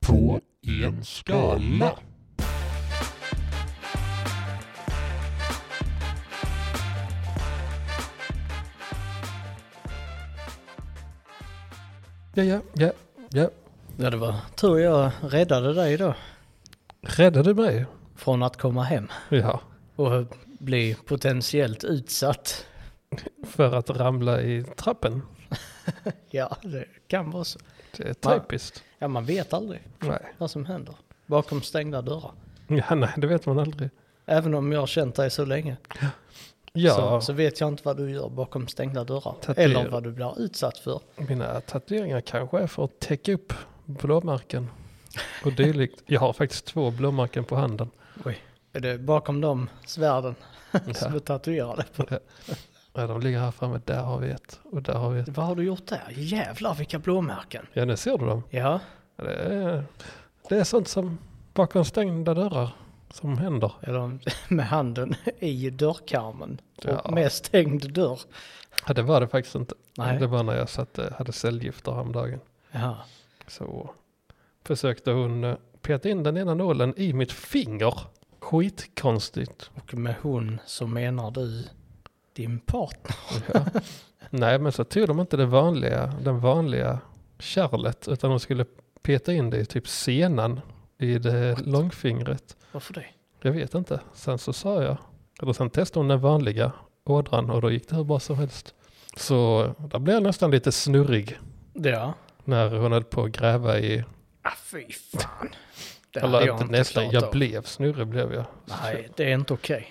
på en skala. Ja, ja, ja, ja. Ja, det var tur jag räddade dig då. Räddade mig. Från att komma hem Ja, och bli potentiellt utsatt. för att ramla i trappen. Ja, det kan vara så. Det är typiskt. Ja, man vet aldrig Nej. vad som händer. Bakom stängda dörrar. Ja, nej, det vet man aldrig. Även om jag har känt dig så länge Ja, så, så vet jag inte vad du gör bakom stängda dörrar. Tatuer- Eller vad du blir utsatt för. mina tatueringar kanske är för att täcka upp blåmärken och dylikt. Jag har faktiskt två blåmärken på handen. Oj. Är det bakom de svärden som Ja. är tatuerade på? Ja, de ligger här framme. Där har vi ett och där har vi ett. Vad har du gjort där? Jävlar vilka blåmärken. Ja, nu ser du dem. Ja, Ja, Det är, det är sånt som bakom stängda dörrar som händer. eller med handen i dörrkarmen. Ja. Och med stängd dörr. Ja, det var det faktiskt inte. Nej. Det var när jag satt, eh, hade cellgifter häromdagen. Ja. Så försökte hon eh, peta in den ena nålen i mitt finger. Skitkonstigt. Och med hon så menar du din partner. Ja. Nej, men så tog de inte det vanliga, den vanliga kärlet, utan de skulle peta in det i typ senan i det långfingret. Varför det? Jag vet inte. Sen så sa jag, eller sen testade hon den vanliga ådran och då gick det hur bra som helst. Så där blev jag nästan lite snurrig Ja. när hon höll på att gräva i, Ah, fy fan. Det hade eller jag inte inte nästan, klarat jag av. blev snurrig blev jag. Nej, det är inte okej.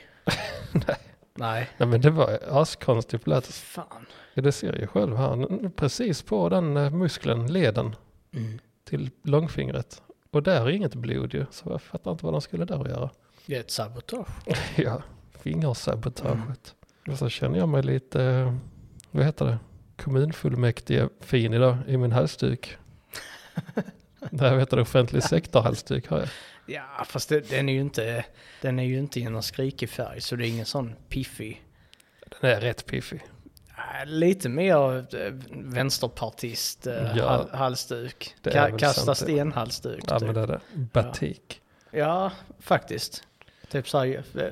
Nej. Nej men det var askonstigt plats. Fan. Ja, det ser jag själv här. Precis på den eh, muskeln, leden Mm. till långfingret. Och där är inget blod ju, så jag fattar inte vad de skulle där göra. Det är ett sabotage. Ja, fingersabotaget. Och så känner jag mig lite, eh, vad heter det, kommunfullmäktige fin idag i min halsduk. Nej, vad heter det, offentlig sektor-halsduk har jag. Ja, fast det, den är ju inte, den är ju inte i någon skrikig färg, så det är ingen sån piffig. Den är rätt piffig. Ah, Lite mer eh, vänsterpartist eh, Ja. hal- halsduk. Det är Ka- väl kasta sant det. sten-halsduk. Ja, typ. men det är det. Batik. Ja, faktiskt. Typ så här, eh,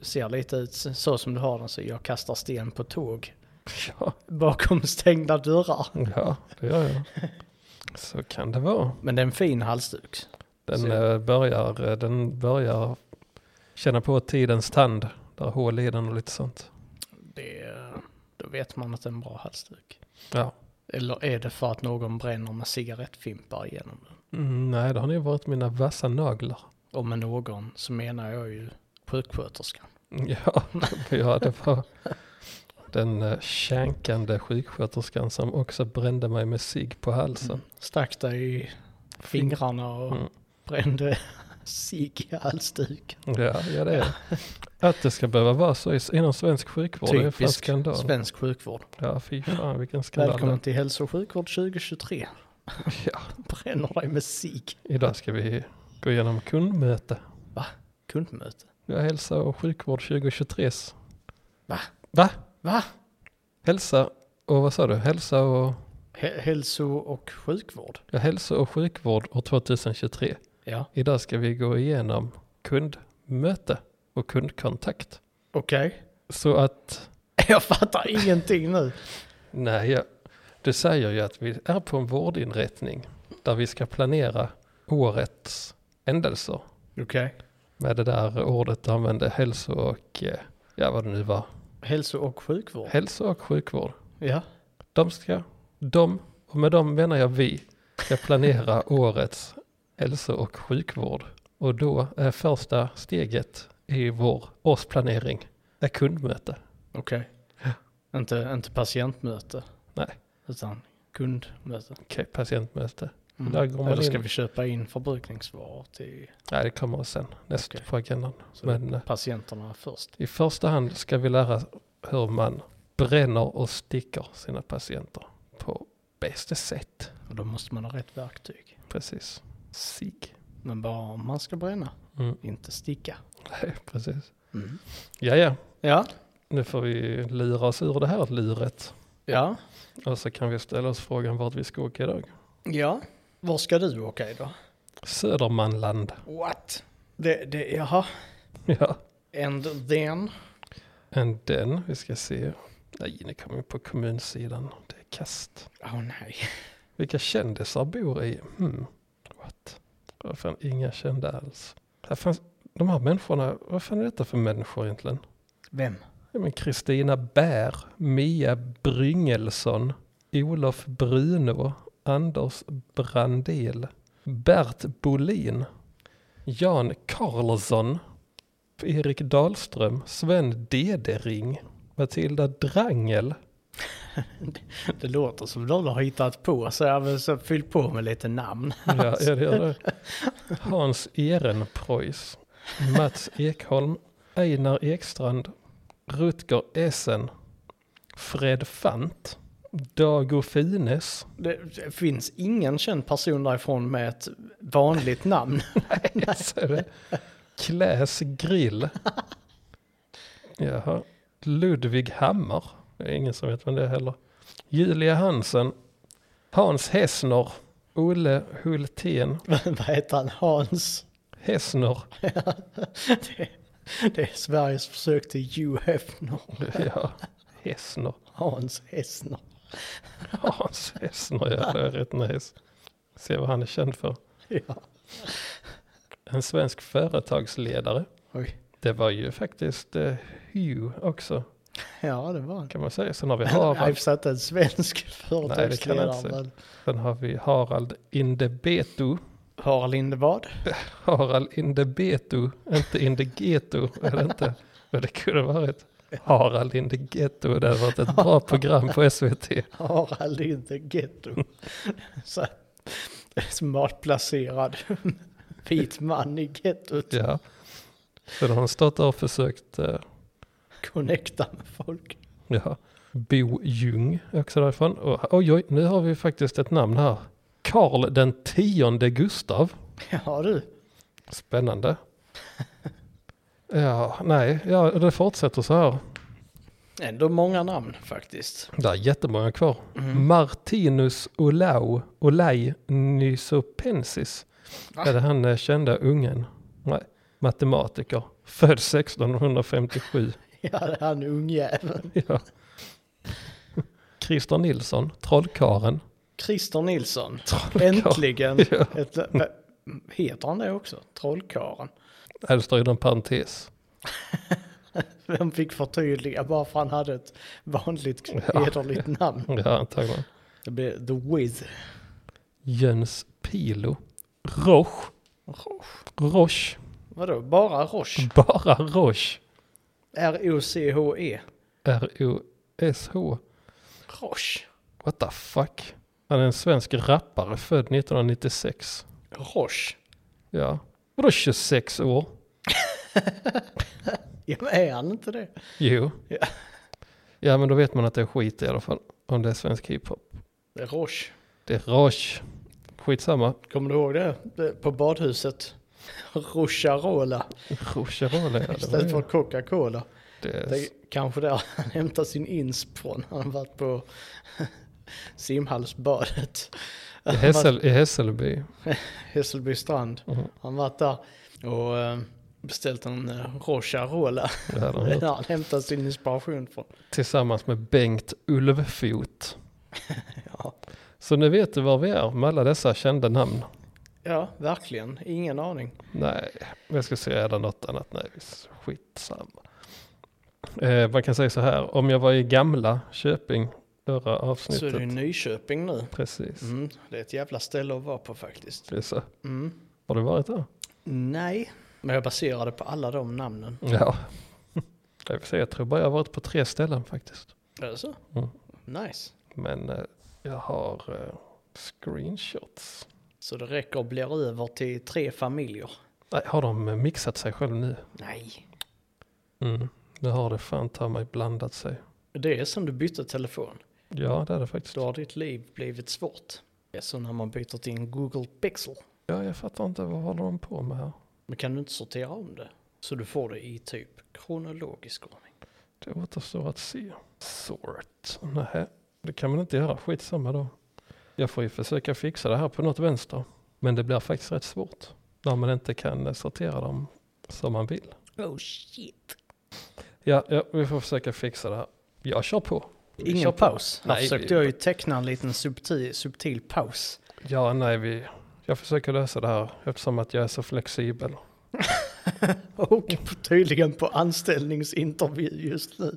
ser lite ut så som du har den, så jag kastar sten på tåg Ja, bakom stängda dörrar. ja det gör jag. Så kan det vara. Men det är en fin halsduk. Den, Så- eh, börjar, eh, den börjar känna på tidens tand. Där hål i den och lite sånt. Det, eh, då vet man att det är en bra halsduk. Ja. Eller är det för att någon bränner med cigarettfimpar igenom den? Mm, nej, det har nog varit mina vassa naglar. Och med någon så menar jag ju sjuksköterskan. Ja, ja det var den eh, känkande sjuksköterskan som också brände mig med cigg på halsen. Mm. Stack dig i fingrarna och Mm. brände cigg i halsduken. Ja, ja, det är det. Att det ska behöva vara så i- inom svensk sjukvård, det är fan Typisk skandal. svensk sjukvård. Ja, fy fan vilken skandal. Välkommen till hälso och sjukvård 2023. Ja, bränner dig med sig. idag ska vi gå igenom kundmöte. Kundmöte. Ja, hälsa och sjukvård 2023. Va? Va? Va? Hälsa och vad sa du? Hälsa och, Hä- Hälso och sjukvård. ja, hälsa och sjukvård år 2023. Ja. Idag ska vi gå igenom kundmöte och kundkontakt. Okej. Så att, Jag fattar ingenting nu. nej, jag- du säger ju att vi är på en vårdinrättning där vi ska planera årets ändelser Okej. med det där ordet du använde, hälso och, eh, ja vad det nu var, Hälso och sjukvård. hälso och sjukvård. Ja. De ska, de, och med dem menar jag vi, ska planera årets hälso och sjukvård. Och då är första steget i vår årsplanering är kundmöte. Okej. Inte, inte patientmöte. Nej. Utan kundmöte. Okej, patientmöte. Där går man Eller ska in. vi köpa in förbrukningsvaror till Nej, det kommer sen, näst Okej. på agendan. Så Men eh, patienterna först? i första hand ska vi lära hur man bränner och sticker sina patienter på bästa sätt. Och då måste man ha rätt verktyg. Precis. Sig. Men bara om man ska bränna, Mm. inte sticka. Nej, precis. Ja, ja. Mm. Ja. Nu får vi lura oss ur det här luret. Ja. Och så kan vi ställa oss frågan vart vi ska åka idag. Ja. Var ska du åka idag? Södermanland. What? Det, det, jaha. Ja. And then? And den, vi ska se. Nej, nu kommer vi på kommunsidan. Det är kast. Åh nej. Vilka kändisar bor i? Hmm. What? Vad fan, inga kända alls. Här fanns, de här människorna, vad fan är detta för människor egentligen? Vem? Ja, men Kristina Bär, Mia Bryngelsson, Olof Bruno, Anders Brandel, Bert Bolin, Jan Karlsson, Erik Dahlström, Sven Dedering, Matilda Drangel. Det låter som någon har hittat på, så jag har så fyllt på med lite namn. Ja, ja, det gör det. Hans Ehrenpreuss, Mats Ekholm, Einar Ekstrand, Rutger Essen, Fred Fant, Dago Fines. Det, det finns ingen känd person därifrån med ett vanligt namn. Jag ser det. Kläs Grill. Jaha. Ludvig Hammar. Det är ingen som vet vem det är heller. Julia Hansen. Hans Hessner. Olle Hultén. Vad heter han? Hans? Hessner. Det, det är Sveriges försök till Hugh Hefner. Ja. Hessner. Hans Hessner. Hans Hessner, ja det är rätt nice. Se vad han är känd för. Ja. En svensk företagsledare. Oj. Det var ju faktiskt eh, Hugh också, Ja, det var han. kan man säga. Sen har vi Jag Harald, har inte en svensk inte företagsledare. se. men- sen har vi Harald Indebeto. Har Lindevad? Harald Indebeto, inte Indegeto, är det inte? Men det kunde varit Harald Indegeto, det hade varit ett bra program på SVT. Harald inte getto. Så här, smart placerad vit man i gettot. Ja. Sen har han stått där och försökt eh, Connecta med folk. Ja. Bo Ljung är också därifrån. Och, oj, oj, nu har vi faktiskt ett namn här. Karl den tionde Gustav. Ja du. Spännande. Ja, nej, ja, det fortsätter så här. Ändå många namn faktiskt. Mm. Det är jättemånga kvar. Martinus Olau, Olai Nysopensis. Va? Är det han eh, kända ungen? Nej, matematiker. Född 1657. Ja, det är han ungjäveln. ja. Christer Nilsson, trollkaren. Christer Nilsson. Trollkarlen. Äntligen. Ja. Ett, va- heter han det också? Trollkaren. Nej, det står inom parentes. Vem fick förtydliga bara för han hade ett vanligt hederligt namn. Ja, antagligen. Det blev The Wiz. Jöns Pilo. Roche. Roche. Vadå, bara Roche? Bara Roche. R-O-C-H-E. R-O-S-H. Roche. What the fuck? Han är en svensk rappare född 1996. Roche. Ja. Vadå 26 år? Ja, men är han inte det? Jo. Ja. Ja, men då vet man att det är skit i alla fall. Om det är svensk hiphop. Det är Roche. Det är Roche. Skitsamma. Kommer du ihåg det? det på badhuset. Rocharola Roche Rolle. Ja, det, var istället för ju- Coca-Cola. det Det är är kanske där han hämtar sin insp från. Han har varit på Simhallsbadet. i Hässel, i Hässelby. Hässelby strand. Mhm. Han varit där och eh, beställt en eh, Rocharola. Det hade han Det är gjort. där han hämtar sin inspiration från. Tillsammans med Bengt Ulvfot. Ja. Så nu vet du var vi är med alla dessa kända namn. ja, verkligen. Ingen aning. Nej, men jag ska säga det något annat. Nej, skitsamma. Eh, man kan säga så här, om jag var i gamla Köping förra Så är avsnittet. du i Nyköping nu. Precis. Mm, det är ett jävla ställe att vara på faktiskt. Det är så. Mm. Har du varit där? Nej, men jag baserar det på alla de namnen. Ja. Jag, vill säga, jag tror bara jag har varit på tre ställen faktiskt. Är det så? Mm. Nice. Men eh, jag har eh, screenshots. Så det räcker och blir över till tre familjer? Nej, har de eh, mixat sig själv nu? Nej. Mm. Nu har det fan ta mig blandat sig. Det är som du bytte telefon. Ja, det är det faktiskt. Då har ditt liv blivit svårt. Det är så när man byter till en Google Pixel. Ja, jag fattar inte vad håller de på med här. Men kan du inte sortera om det? Så du får det i typ kronologisk ordning. Det återstår att se. Sort. Nej, det kan man inte göra. Skitsamma då. Jag får ju försöka fixa det här på något vänster. Men det blir faktiskt rätt svårt när man inte kan eh, sortera dem som man vill. Oh shit. Ja, ja vi får försöka fixa det här. Jag kör på. Vi kör Ingen på. paus. Här Nej, försökte vi- jag ju teckna en liten subtil, subtil paus. Ja, nej, vi, jag försöker lösa det här eftersom att jag är så flexibel. Och tydligen på anställningsintervju just nu.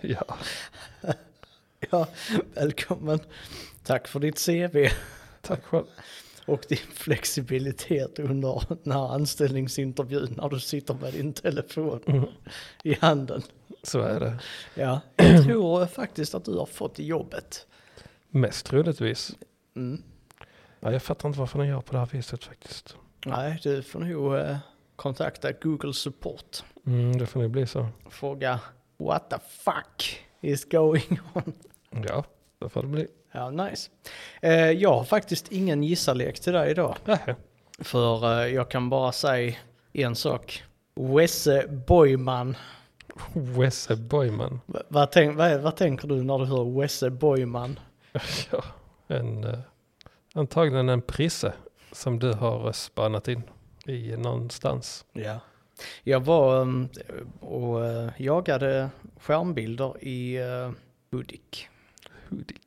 ja. Ja, välkommen. Tack för ditt CV Tack själv. och din flexibilitet under den här anställningsintervjun när du sitter med din telefon Mm, i handen. så är det. Ja, jag tror faktiskt att du har fått jobbet. Mest troligtvis. Mm. Ja, jag fattar inte varför ni gör på det här viset faktiskt. Nej, du får nog eh, kontakta Google Support. Mm, det får ni bli så. Fråga what the fuck is going on? Ja, det får det bli. Ja, nice. Eh, jag har faktiskt ingen gissarlek till dig idag. Nähä. För eh, jag kan bara säga en sak. Wesse Boyman. Wesse E Boyman. V- vad, tänk, vad, vad tänker du när du hör Wesse Boyman? Ja, en, eh, antagligen en prisse som du har eh, spannat in i någonstans. Ja. Jag var eh, och eh, jagade skärmbilder i eh, Hudik. Hudik.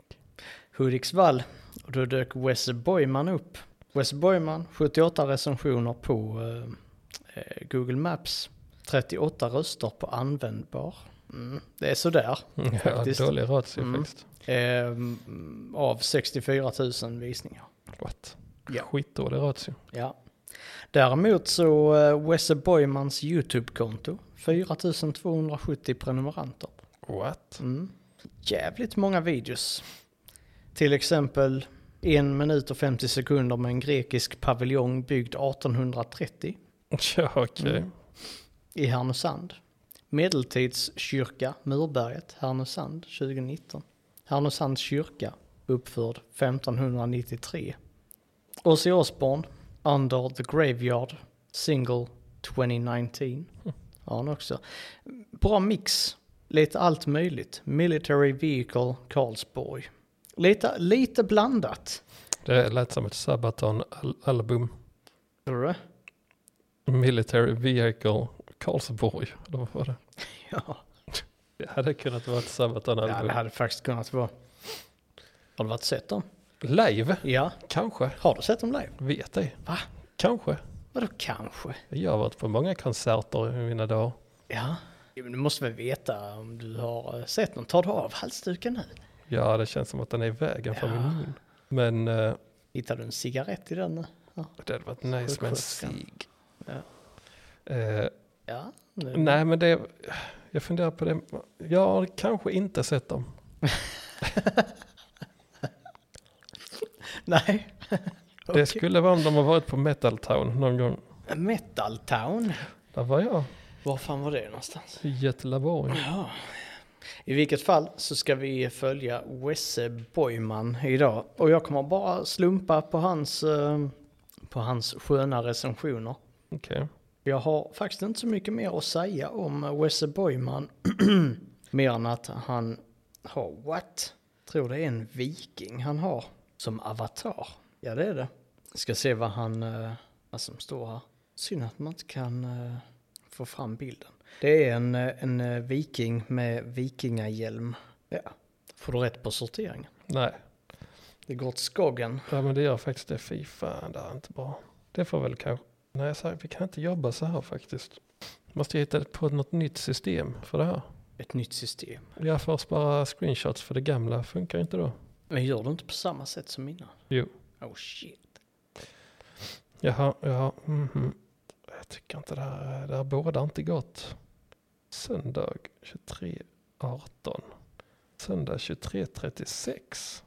Hudiksvall. Och då dök Wesse Boyman upp. Wesse Boyman, 78 recensioner på eh, eh, Google Maps. 38 röster på användbar. Mm, det är sådär. Mm, Ja, Faktiskt. dålig ratio Mm. faktiskt. Eh, av 64 000 visningar. What? Ja. Skitdålig ratio. Ja. Däremot så eh, Wesse Boymans YouTube-konto, 4270 prenumeranter. What? Mm. Jävligt många videos. Till exempel en minut och 50 sekunder med en grekisk paviljong byggd 1830 Ja, okej. Mm. i Härnösand. Medeltidskyrka, Murberget, Härnösand 2019. Härnösands kyrka, uppförd 1593. Ozzy Osbourne, Under the Graveyard, Single 2019. Har han också. Bra mix, lite allt möjligt. Military Vehicle, Karlsborg. Lite, lite blandat. Det lät som ett Sabaton-album. Tror du? Military Vehicle Karlsborg. Eller vad var det? Ja. Det hade kunnat vara ett ja, Sabaton-album. det hade faktiskt kunnat vara. Har du varit sett dem? Live? Ja. Kanske. Har du sett dem live? Vet ej. Va? Kanske. Vadå kanske? Jag har varit på många konserter i mina dagar. Ja. Jo, men Du måste väl veta om du har eh, sett någon. Tar du av halsduken nu? Ja, det känns som att den är i vägen för Ja. min mun. Men eh, Hittar du en cigarett i den? nu? det hade varit nice med en cig. Ja. Eh, Ja. Nu. nej, men det... Jag funderar på det. Jag har kanske inte sett dem. Nej. Det skulle vara om de har varit på Metal Town någon gång. Metal Town. Där var jag. Var fan var det någonstans? I Göteborg. Ja. I vilket fall så ska vi följa Wesse Boyman idag. Och jag kommer bara slumpa på hans, eh, på hans sköna recensioner. Okej. Jag har faktiskt inte så mycket mer att säga om eh, Wesse Boyman. mer än att han har what? Tror det är en viking han har som avatar. Ja det är det. Ska se vad han, eh, vad som står här. Synd att man inte kan eh, få fram bilden. Det är en, eh, en eh, viking med vikingahjälm. Ja, får du rätt på sorteringen. Nej. Det går till skogen. Ja, men det gör faktiskt det. Fy fan, det är inte bra. Det får väl kanske... Nej, så här, vi kan inte jobba så här faktiskt. Måste hitta på något nytt system för det här. Ett nytt system. Jag får spara screenshots för det gamla funkar inte då. Men gör du inte på samma sätt som innan? Jo. Oh shit. Jaha, jaha. mhm. Jag tycker inte det här, det här bådar inte gott. Söndag 23.18. Söndag 23.36.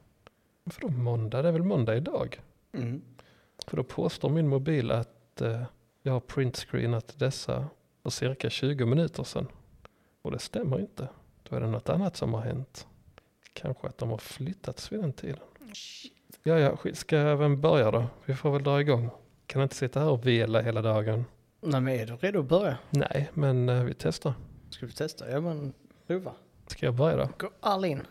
Varför då måndag? Det är väl måndag idag? Mm. För då påstår min mobil att eh, jag har printscreenat dessa för cirka 20 minuter sedan. Och det stämmer inte. Då är det något annat som har hänt. Kanske att de har flyttats vid den tiden. Ja, ja, skit. ska jag även börja då? Vi får väl dra igång. Kan inte sitta här och vela hela dagen. Nej men är du redo att börja? Nej, men eh, vi testar. Ska vi testa? Ja men prova. Ska jag börja då? Gå all in.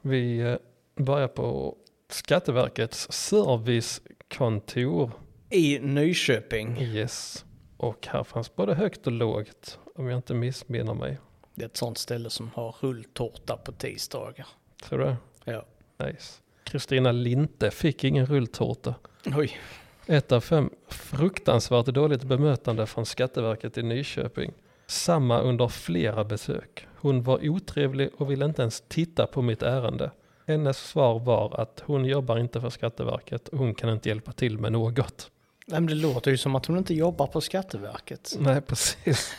Vi eh, börjar på Skatteverkets service kontor. I Nyköping. Yes. Och här fanns både högt och lågt, om jag inte missminner mig. Det är ett sånt ställe som har rulltårta på tisdagar. Tror du det? Ja. Nice. Kristina Linte fick ingen rulltårta. Oj. Ett av fem. Fruktansvärt dåligt bemötande från Skatteverket i Nyköping. Samma under flera besök. Hon var otrevlig och ville inte ens titta på mitt ärende. Hennes svar var att hon jobbar inte för Skatteverket och hon kan inte hjälpa till med något. Nej, men det låter ju som att hon inte jobbar på Skatteverket. Nej, precis.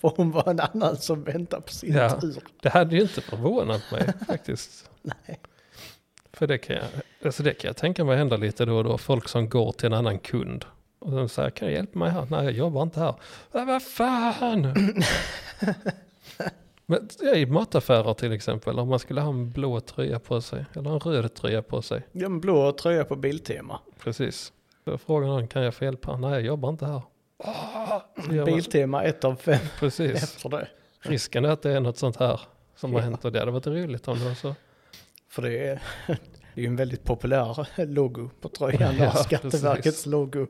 För hon var en annan som väntar på sin Ja. tur. Det hade ju inte förvånat mig faktiskt. Nej. För det kan jag, alltså det kan jag tänka mig händer lite då och då. Folk som går till en annan kund. Och de säger, kan du hjälpa mig här? Nej, jag jobbar inte här. "Ja, vad fan! Men ja, i mataffärer till exempel, om man skulle ha en blå tröja på sig, eller en röd tröja på sig. Den blå tröja på Biltema. Precis. Då frågar någon, kan jag få hjälp här? Nej, jag jobbar inte här. Ah, Så gör man- Biltema ett av fem Precis. efter det. Risken är att det är något sånt här som har Ja. hänt och det hade varit roligt om det var så. För det är, det är ju en väldigt populär logo på tröjan. där, Ja, Skatteverkets precis. logo.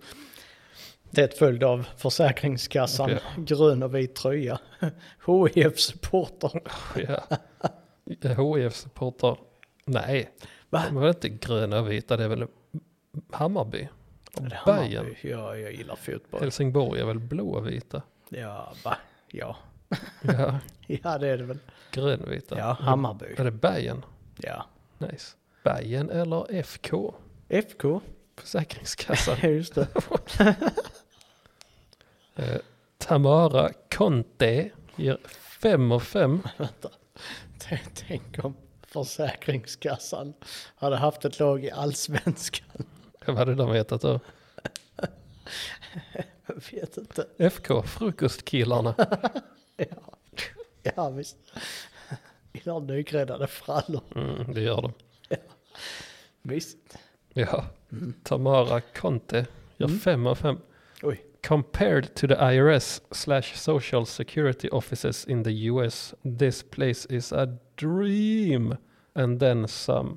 Det är ett följd av Försäkringskassan, Ja. grön och vit tröja. hif supporter Ja. HIF-supportrar. Nej, Va? de är väl inte gröna och vita, det är väl Hammarby? Och Är det Bayern. Hammarby? Ja, jag gillar fotboll. Helsingborg är väl blå och vita? Ja, va? Ja. Ja, ja, det är det väl. grönvita. Ja, Hammarby. Är det Bayern? Ja. Nice. Bayern eller FK? FK, Försäkringskassan. just det. eh, Tamara Conte ger 5 av 5. T- Tänk om Försäkringskassan hade haft ett lag i allsvenskan. Vad hade de hetat då? Jag vet inte. FK, Frukostkillarna. Ja, ja visst. Gillar nygräddade frallor. Mm, det gör de. Visst. Ja, Tamara Conte gör Mm-hmm. Mm. fem av fem. Oj. Compared to the IRS slash social security offices in the US, this place is a dream. And then some.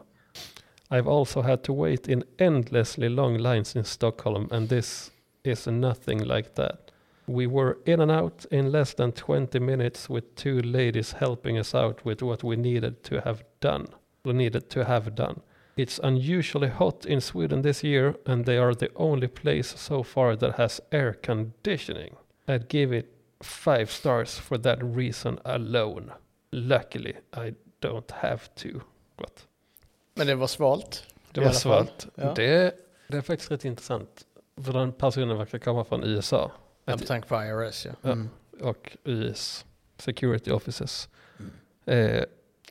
I've also had to wait in endlessly long lines in Stockholm, and this is nothing like that. We were in and out in less than 20 minutes with two ladies helping us out with what we needed to have done. We needed to have done. It's unusually hot in Sweden this year, and they are the only place so far that has air conditioning. I'd give it five stars for that reason alone. Luckily, I don't have to. What? Men det var svalt. Det I var alla fall, svalt. ja. Det, det är faktiskt rätt intressant. För den personen verkar komma från USA Ja, med tanke på IRS ja. Ja. Mm. och US Security Offices. Eh,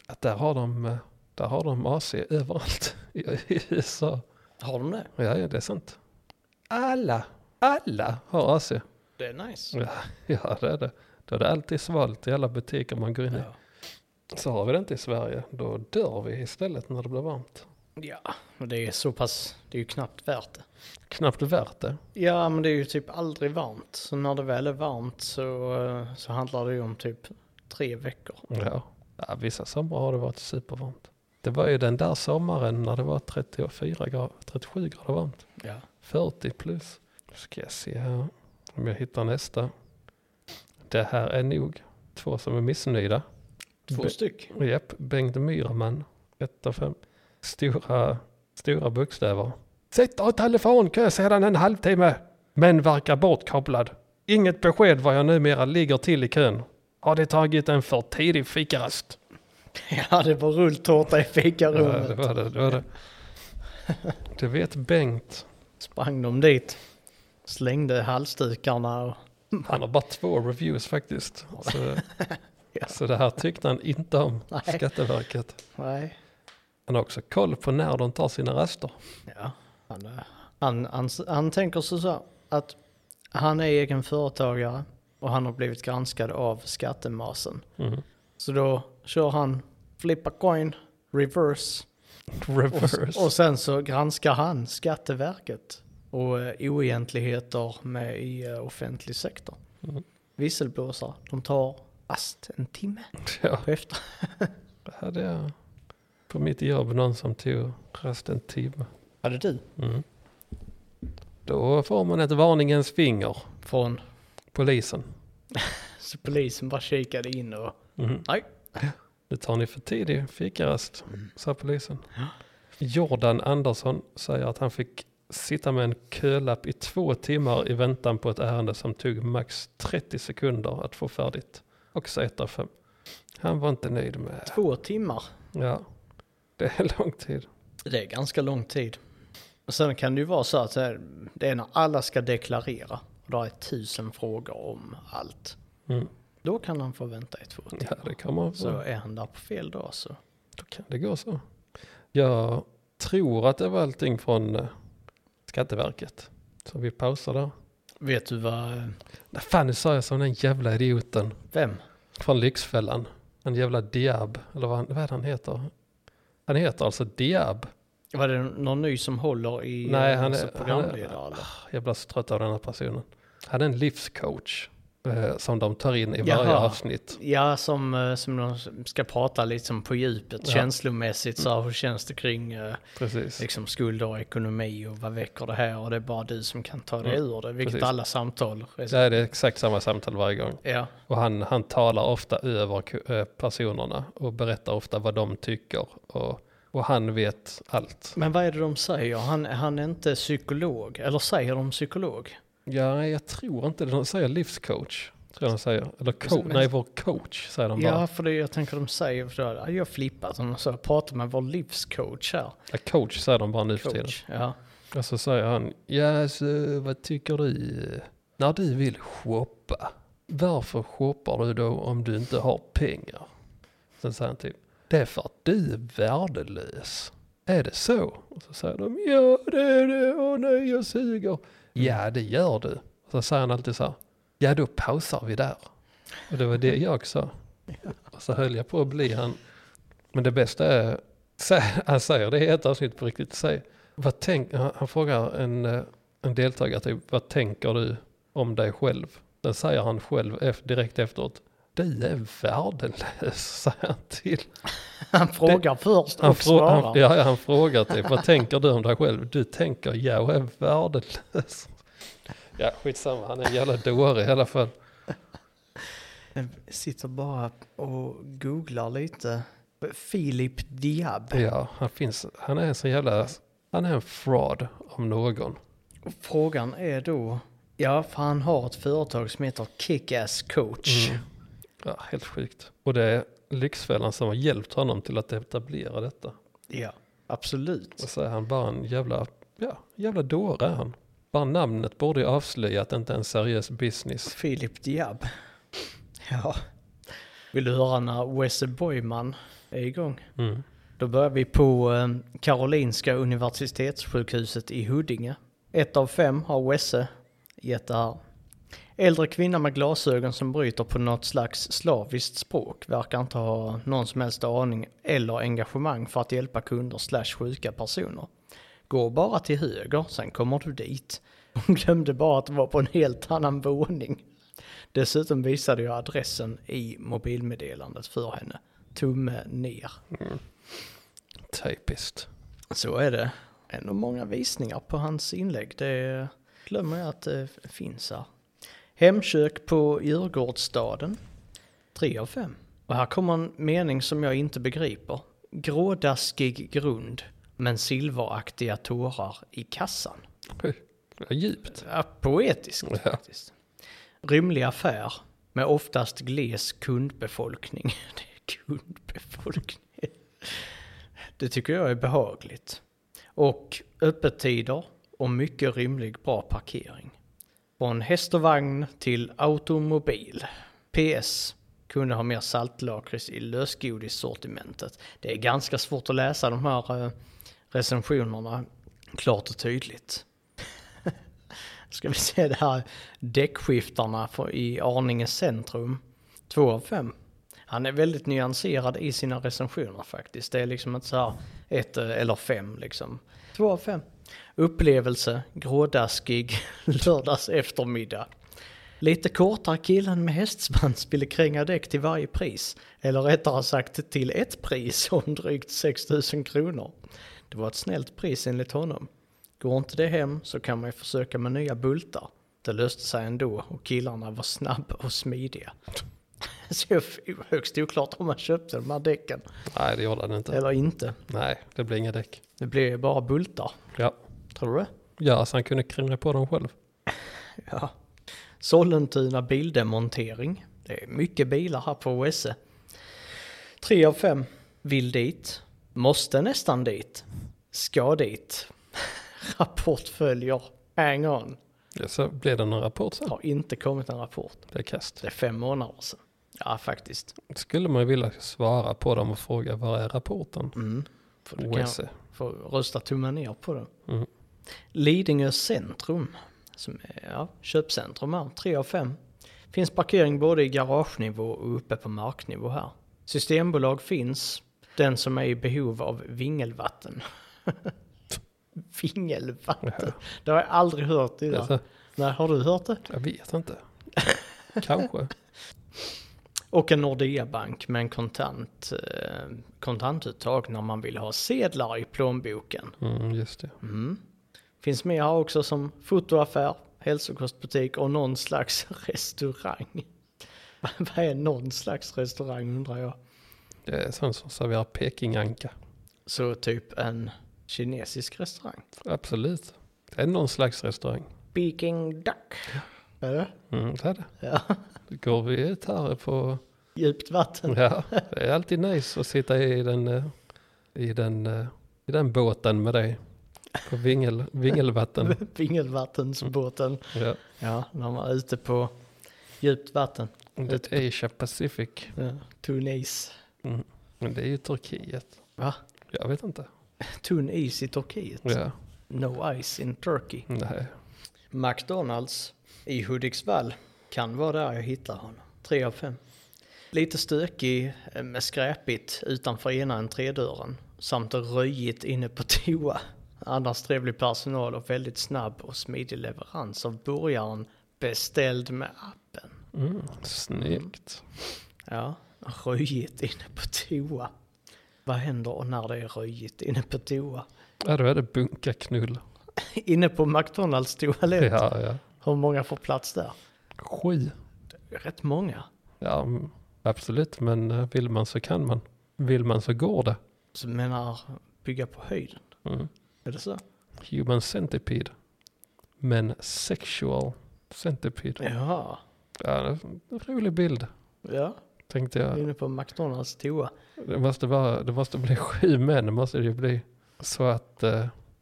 att där har de, eh, där har de AC överallt i, i USA. Har de det? Ja, ja, det är sant. Alla, alla har AC. Det är nice. Ja, ja det är det. Då är det alltid svalt i alla butiker man går in i. Ja. Så har vi det inte i Sverige, då dör vi istället när det blir varmt. ja, men det är så pass, det är ju knappt värt det. Knappt värt det. Ja, men det är ju typ aldrig varmt. Så när det väl är varmt så, eh, så handlar det ju om typ tre veckor. Ja. ja, vissa somrar har det varit supervarmt. Det var ju den där sommaren när det var 34 grader, 37 grader varmt. Ja. 40 plus. Nu ska jag se här om jag hittar nästa. Det här är nog två som är missnöjda. Två Be- styck. Japp, Bengt Myrman, 1 av 5. Stora, stora bokstäver. Sitter i telefonkö sedan en halvtimme, men verkar bortkopplad. Inget besked var jag numera ligger till i kön. Har de tagit en för tidig fikarast? Ja, det var rulltårta i Ja, det fikarummet. var det, det var det. Det vet Bengt. Sprang de dit, slängde halsdukarna och Han har bara två reviews faktiskt. Så, Ja. så det här tyckte han inte om, Nej. Skatteverket. nej. Han har också koll på när de tar sina raster. Ja. Han, eh, han, han, han tänker så, så här, att han är egen företagare och han har blivit granskad av skattemasen. Mm. Så då kör han flippa coin, reverse Reverse. och sen så granskar han Skatteverket och eh, oegentligheter med i eh, offentlig sektor. Mm. Visselblåsare, de tar fast en timme Ja. på efter. Det hade jag på mitt jobb någon som tog rast en timme. Hade du? Mm. Då får man ett varningens finger, Från polisen. så polisen bara kikade in och Mhm. nej. Nu tar ni för tidig fikarast, sa polisen. Jordan Andersson säger att han fick sitta med en kölapp i två timmar i väntan på ett ärende som tog max 30 sekunder att få färdigt. Och så 1 av 5. Han var inte nöjd med... Två timmar. Ja, det är lång tid. Det är ganska lång tid. Och sen kan det ju vara så att eh, det är när alla ska deklarera. Och då är tusen frågor om allt. Mm. Då kan han få vänta i två timmar. Ja, det kommer Så är han där på fel dag så. Då kan det gå så. Jag tror att det var allting från eh, Skatteverket. Så vi pausar där. Vet du vad? eh, Nej, Fan, nu sa jag som den jävla idioten Vem? från Lyxfällan. En jävla Diab, eller vad, han- vad är det han heter? Han heter alltså Diab. Var det någon ny som håller i Nej, eh, han alltså, är- programledare eller? Jag blir så trött av den här personen. Han är en livscoach eh, som de tar in i varje Jaha. avsnitt. Ja, som, eh, som de ska prata liksom på djupet Ja. Mm. känslomässigt. Så här, hur känns det kring eh, Precis. liksom, skulder och ekonomi och vad väcker det här? Och det är bara du som kan ta dig Mm, ur det, vilket precis. alla samtal är. Det är det exakt samma samtal varje gång. Ja, Och han, han talar ofta över ku- eh, personerna och berättar ofta vad de tycker. Och, och han vet allt. men vad är det de säger? Han, han är inte psykolog, eller säger de psykolog? Ja, jag tror inte de säger livscoach. Tror jag de säger. Eller coach, Som- nej vår coach säger de bara. Ja, för det jag tänker de säger, för då, ja, jag flippat och så, jag pratar med vår livscoach här. Ja, coach säger de bara nu för tiden. Coach, ja. Och så säger han, ja så vad tycker du? eh, När du vill shoppa, varför shoppar du då om du inte har pengar? Sen säger han typ, det är för att du är värdelös. Är det så? Och så säger de, ja det är det, åh nej jag suger. Ja det gör du. Och så säger han alltid så här, ja då pausar vi där. Och det var det jag sa. Och så höll jag på att bli han. Men det bästa är, sä- han säger det i ett avsnitt på riktigt, säg, vad tänk, han han frågar en, eh, en deltagare typ, vad tänker du om dig själv? Den säger han själv ef- direkt efteråt. Du är värdelös, säger han till. Han frågar först och Han, frå- svarar. han, ja, ja, han frågar typ, vad tänker du om dig själv? Du tänker, jag är värdelös. Ja, skitsamma, han är en jävla dåre i alla fall. Jag sitter bara och googlar lite. Filip Diab. Ja, han finns, han är en sån jävla, han är en fraud om någon. Och Frågan är då, ja för han har ett företag som heter Kick-Ass Coach. Mm. Ja, helt sjukt. Och det är Lyxfällan som har hjälpt honom till att etablera detta. Ja, absolut. Och så är han bara en jävla, ja, jävla dåre är han. Bara namnet borde ju avslöja att det inte är en seriös business. Filip Diab. Ja. Vill du höra när Wesse Boyman är igång? Mm. Då börjar vi på eh, Karolinska Universitetssjukhuset i Huddinge. Ett av fem har Wesse gett det här. Äldre kvinna med glasögon som bryter på något slags slaviskt språk verkar inte ha någon som helst aning eller engagemang för att hjälpa kunder slash sjuka personer. Gå bara till höger, sen kommer du dit. Hon glömde bara att det var på en helt annan våning. Dessutom visade jag adressen i mobilmeddelandet för henne. Tumme ner. Typiskt. Så är det. Ändå många visningar på hans inlägg. Det glömmer jag att det finns här. Hemkök på Djurgårdsstaden. 3 av 5. Och här kommer en mening som jag inte begriper. Grådaskig grund, men silveraktiga tårar i kassan. Oj, det är djupt. Ja, poetiskt Ja. faktiskt. Rymlig affär med oftast gles kundbefolkning. Det är kundbefolkning. Det tycker jag är behagligt. Och öppettider och mycket rymlig bra parkering. Från häst och vagn till automobil. PS. Kunde ha mer saltlakrits i lösgodissortimentet. Det är ganska svårt att läsa de här eh, recensionerna klart och tydligt ska vi se det här däckskiftarna för- i Arninge centrum. Två av fem. Han är väldigt nyanserad i sina recensioner faktiskt. Det är liksom inte så här ett eh, eller fem liksom. Två av fem. Upplevelse, grådaskig, lördags eftermiddag. Lite kortare killen med hästsvans ville kränga däck till varje pris. Eller rättare sagt till ett pris om drygt 6 000 kronor. Det var ett snällt pris enligt honom. Går inte det hem så kan man ju försöka med nya bultar. Det löste sig ändå och killarna var snabba och smidiga. Så det är högst oklart om man köpte de här däcken Nej, det gjorde han inte. eller inte. Nej, det blir inga däck. Det blev ju bara bultar. Ja. Tror du det? ja, alltså han kunde kringla på dem själv. Ja. Sollentuna bildemontering. Det är mycket bilar här på OSE. Tre av fem vill dit. Måste nästan dit. Ska dit. Rapport följer. Hang on. Ja, Så blev det någon rapport sen. Har inte kommit en rapport. Det är kast. Det är fem månader sedan. Ja, faktiskt. Skulle man ju vilja svara på dem och fråga var är rapporten? E. Mm. För du kan OSE. få rösta tummen ner på den. Mm. Lidingö centrum, som är ja, köpcentrum här, 3 av 5. Finns parkering både i garagenivå och uppe på marknivå här. Systembolag finns, den som är i behov av vingelvatten. vingelvatten, det har jag aldrig hört Det är innan. så, Nej, har du hört det? Alltså, jag vet inte. Kanske. Och en Nordea-bank med en kontant, eh, kontantuttag när man vill ha sedlar i plånboken. Mm, just det. Mm. Finns med här också som fotoaffär, hälsokostbutik och någon slags restaurang. Vad är någon slags restaurang undrar jag? Det är sån som serverar pekinganka. Så typ en kinesisk restaurang. Absolut. Det är någon slags restaurang. Peking duck. Är det? Mm, det är det. Ja, Då Går vi ut här på... djupt vatten. Ja, det är alltid nice att sitta i den, eh, i den, eh, i den båten med dig. På vingel, vingelvatten. Vingelvattensbåten. Ja. Ja, när man är ute på djupt vatten. Det är Asia Pacific. Ja, tunn is. Men det är ju Turkiet. Va? Jag vet inte. Tunn is i Turkiet. Ja, No ice in Turkey. nej. McDonalds i Hudiksvall. Kan vara där jag hittar honom. Tre av fem. Lite stökig eh, med skräpigt utanför ena entrédörren samt röjigt inne på toa. Annars trevlig personal och väldigt snabb och smidig leverans av burgaren beställd med appen. Mm, snyggt. Ja, röjigt inne på toa. Vad händer när det är röjigt inne på toa? Ja, då är det bunkaknull. Inne på McDonalds toalett? Ja, ja. Hur många får plats där? Sju. Rätt många. Ja, mm, absolut. Men eh, vill man så kan man. Vill man så går det. Så du menar bygga på höjden? Mm. Är det så? Human centipede. Men sexual centipede. Jaha. Ja, det är en rolig bild. Ja, Tänkte ja. jag. inne på McDonalds toa. Det måste, vara, det måste bli sju män. Det måste det ju bli. Så att... eh,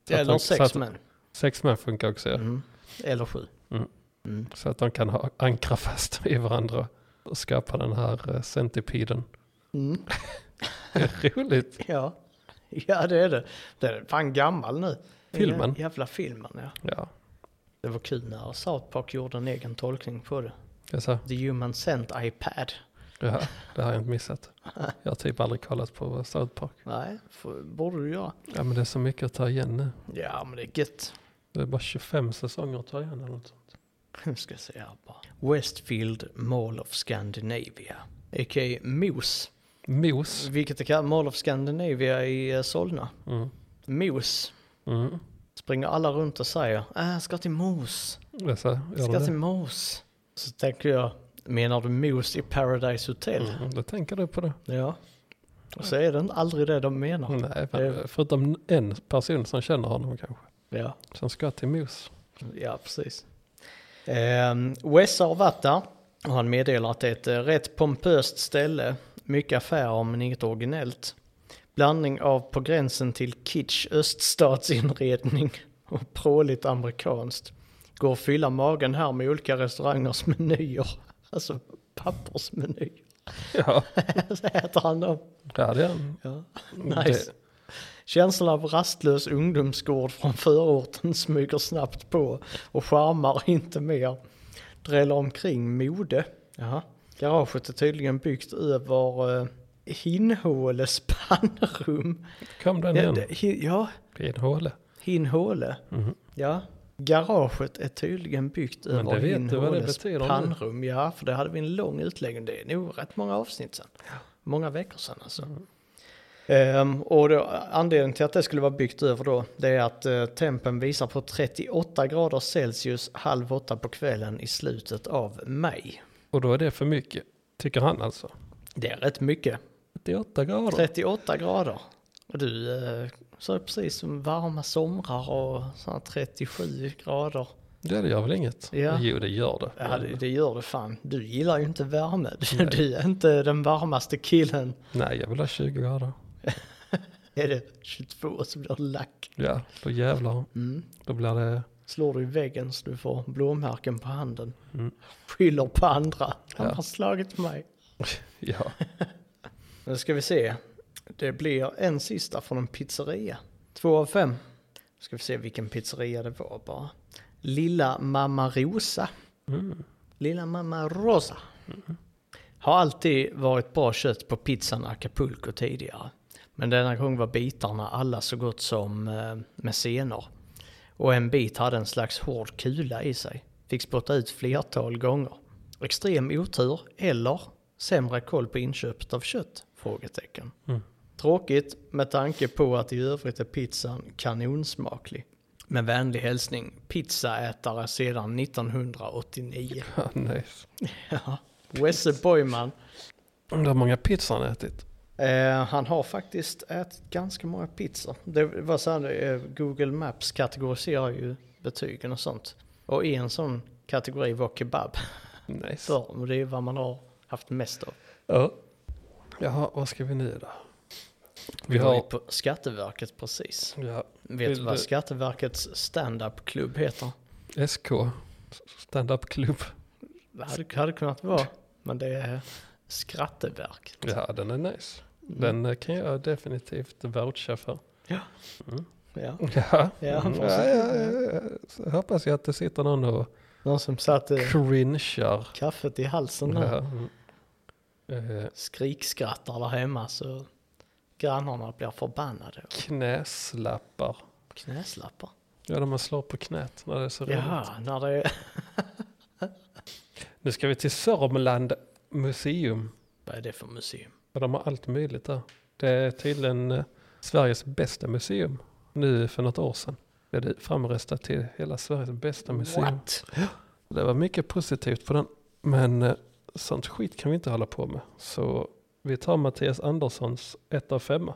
Så att Eller de- så sex att- män. Sex män funkar också. Ja. Mm. Eller sju. Mm. Mm. Så att de kan ha, ankra fast i varandra och skapa den här eh, centipeden. Mm. Det är roligt. Ja. ja, det är det. Det är fan gammal nu. Filmen? Ja, Jävla filmen, ja. Ja, Det var kul när South Park gjorde en egen tolkning på det. jag sa, The Human Sent iPad. det, här, det här har jag inte missat. Jag har typ aldrig kollat på South Park. Nej, för, borde du göra. Ja, men det är så mycket att ta igen nu. Ja, men det är gött. Det är bara 25 säsonger att ta igen eller något sånt. Nu ska jag se här bara. Westfield Mall of Scandinavia. A.k.a. Mos. Mos. Vilket det kallas, Mall of Scandinavia i eh, Solna. Mm. Mos. Mm. Springer alla runt och säger, äh, jag ska till Mos, Jag sa, jag gör ska det till det? Mos. Så tänker jag, menar du Mos i Paradise Hotel? Mm, då tänker du på det. Ja. Och så är det inte aldrig det de menar. Nej, det- men, förutom en person som känner honom kanske. Ja, Som ska till Mos. ja precis. Ehm, Wes har varit där och han meddelar att det är ett eh, rätt pompöst ställe. Mycket affärer men inget originellt. Blandning av på gränsen till kitsch öststatsinredning och pråligt amerikanskt. Går att fylla magen här med olika restaurangers menyer. Alltså pappersmenyer. Ja, Så äter han dem. ja det är en. Ja. Det, Nice. Känslan av rastlös ungdomsgård från förorten smyger snabbt på och charmar inte mer. Dräller omkring mode. Jaha. Garaget är tydligen byggt över uh, Hinhåles pannrum. kom den Ja, igen. det, hin, ja Det är en håle. Hinhåle. Mhm. Ja. Garaget är tydligen byggt Men över det vet du vad det Hinhåles betyder nu. pannrum. Ja, för Mm. det hade vi en lång utläggning. Det är nog rätt många avsnitt sedan. Många veckor sedan alltså. Ehm, och då, anledningen till att det skulle vara byggt över då, det är att eh, tempen visar på 38 grader Celsius halv åtta på kvällen i slutet av maj. Och då är det för mycket, tycker han alltså. Det är rätt mycket. 38 grader. 38 grader. Och du eh, sa ju precis som varma somrar och sådana 37 grader. Ja, det gör väl inget? Ja. Jo, det gör det. Ja, det, Men- det gör det fan. Du gillar ju inte värme. Du, du är inte den varmaste killen. Nej, jag vill ha 20 grader. Är det 22 som blir lack? Ja, då jävlar. Mm. Då blir det... Slår du i väggen så du får blåmärken på handen. Mm. Skyller på andra. Han Ja. har slagit mig. Ja, Nu ska vi se. Det blir en sista från en pizzeria. Två av fem. Ska vi se vilken pizzeria det var bara. Lilla Mamma Rosa. mm. Lilla Mamma Rosa. Har alltid varit bra kött på pizzan Acapulco tidigare. Men denna gång var bitarna alla så gott som eh, med senor. Och en bit hade en slags hård kula i sig. Fick spotta ut flertal gånger. Extrem otur eller sämre koll på inköpet av kött? Frågetecken. Mm. Tråkigt med tanke på att i övrigt är pizzan kanonsmaklig. Med vänlig hälsning, pizzaätare sedan 1989. Ja, nice. Ja, Wesse Boyman. Undrar hur många pizzor han ätit. Eh, han har faktiskt ätit ganska många pizzor. Det var så här, eh, Google Maps kategoriserar ju betygen och sånt. Och en sån kategori var kebab. Nice. Så, och det är vad man har haft mest av. Ja. Jaha, vad ska vi nu då? Vi Vi var ju har... på Skatteverket precis. Ja, Vet du Vill vad du- Skatteverkets stand-up-klubb heter? SK. Stand-up klubb. Det hade, hade kunnat vara, men det är Skratteverk. Mm, Ja, den är nice. Den eh, kan jag definitivt voucha för. Ja. Ja, Ja, Mm. får ja, se. ja, ja, ja. Så hoppas jag att det sitter någon och Någon som satte cringear. kaffet i halsen där. Ja. Mm. Eh, skrikskrattar där hemma så grannarna blir förbannade och Knäslappar. knäslappar. Ja, när man slår på knät när det är så roligt. Jaha, när det är... Nu ska vi till Sörmland museum. Vad är det för museum? Och de har allt möjligt där. Det är tydligen eh, Sveriges bästa museum. Nu för något år sedan blev det framröstat till hela Sveriges bästa museum. What? Det var mycket positivt på den. Men eh, sånt skit kan vi inte hålla på med. Så vi tar Mattias Anderssons 1 av 5.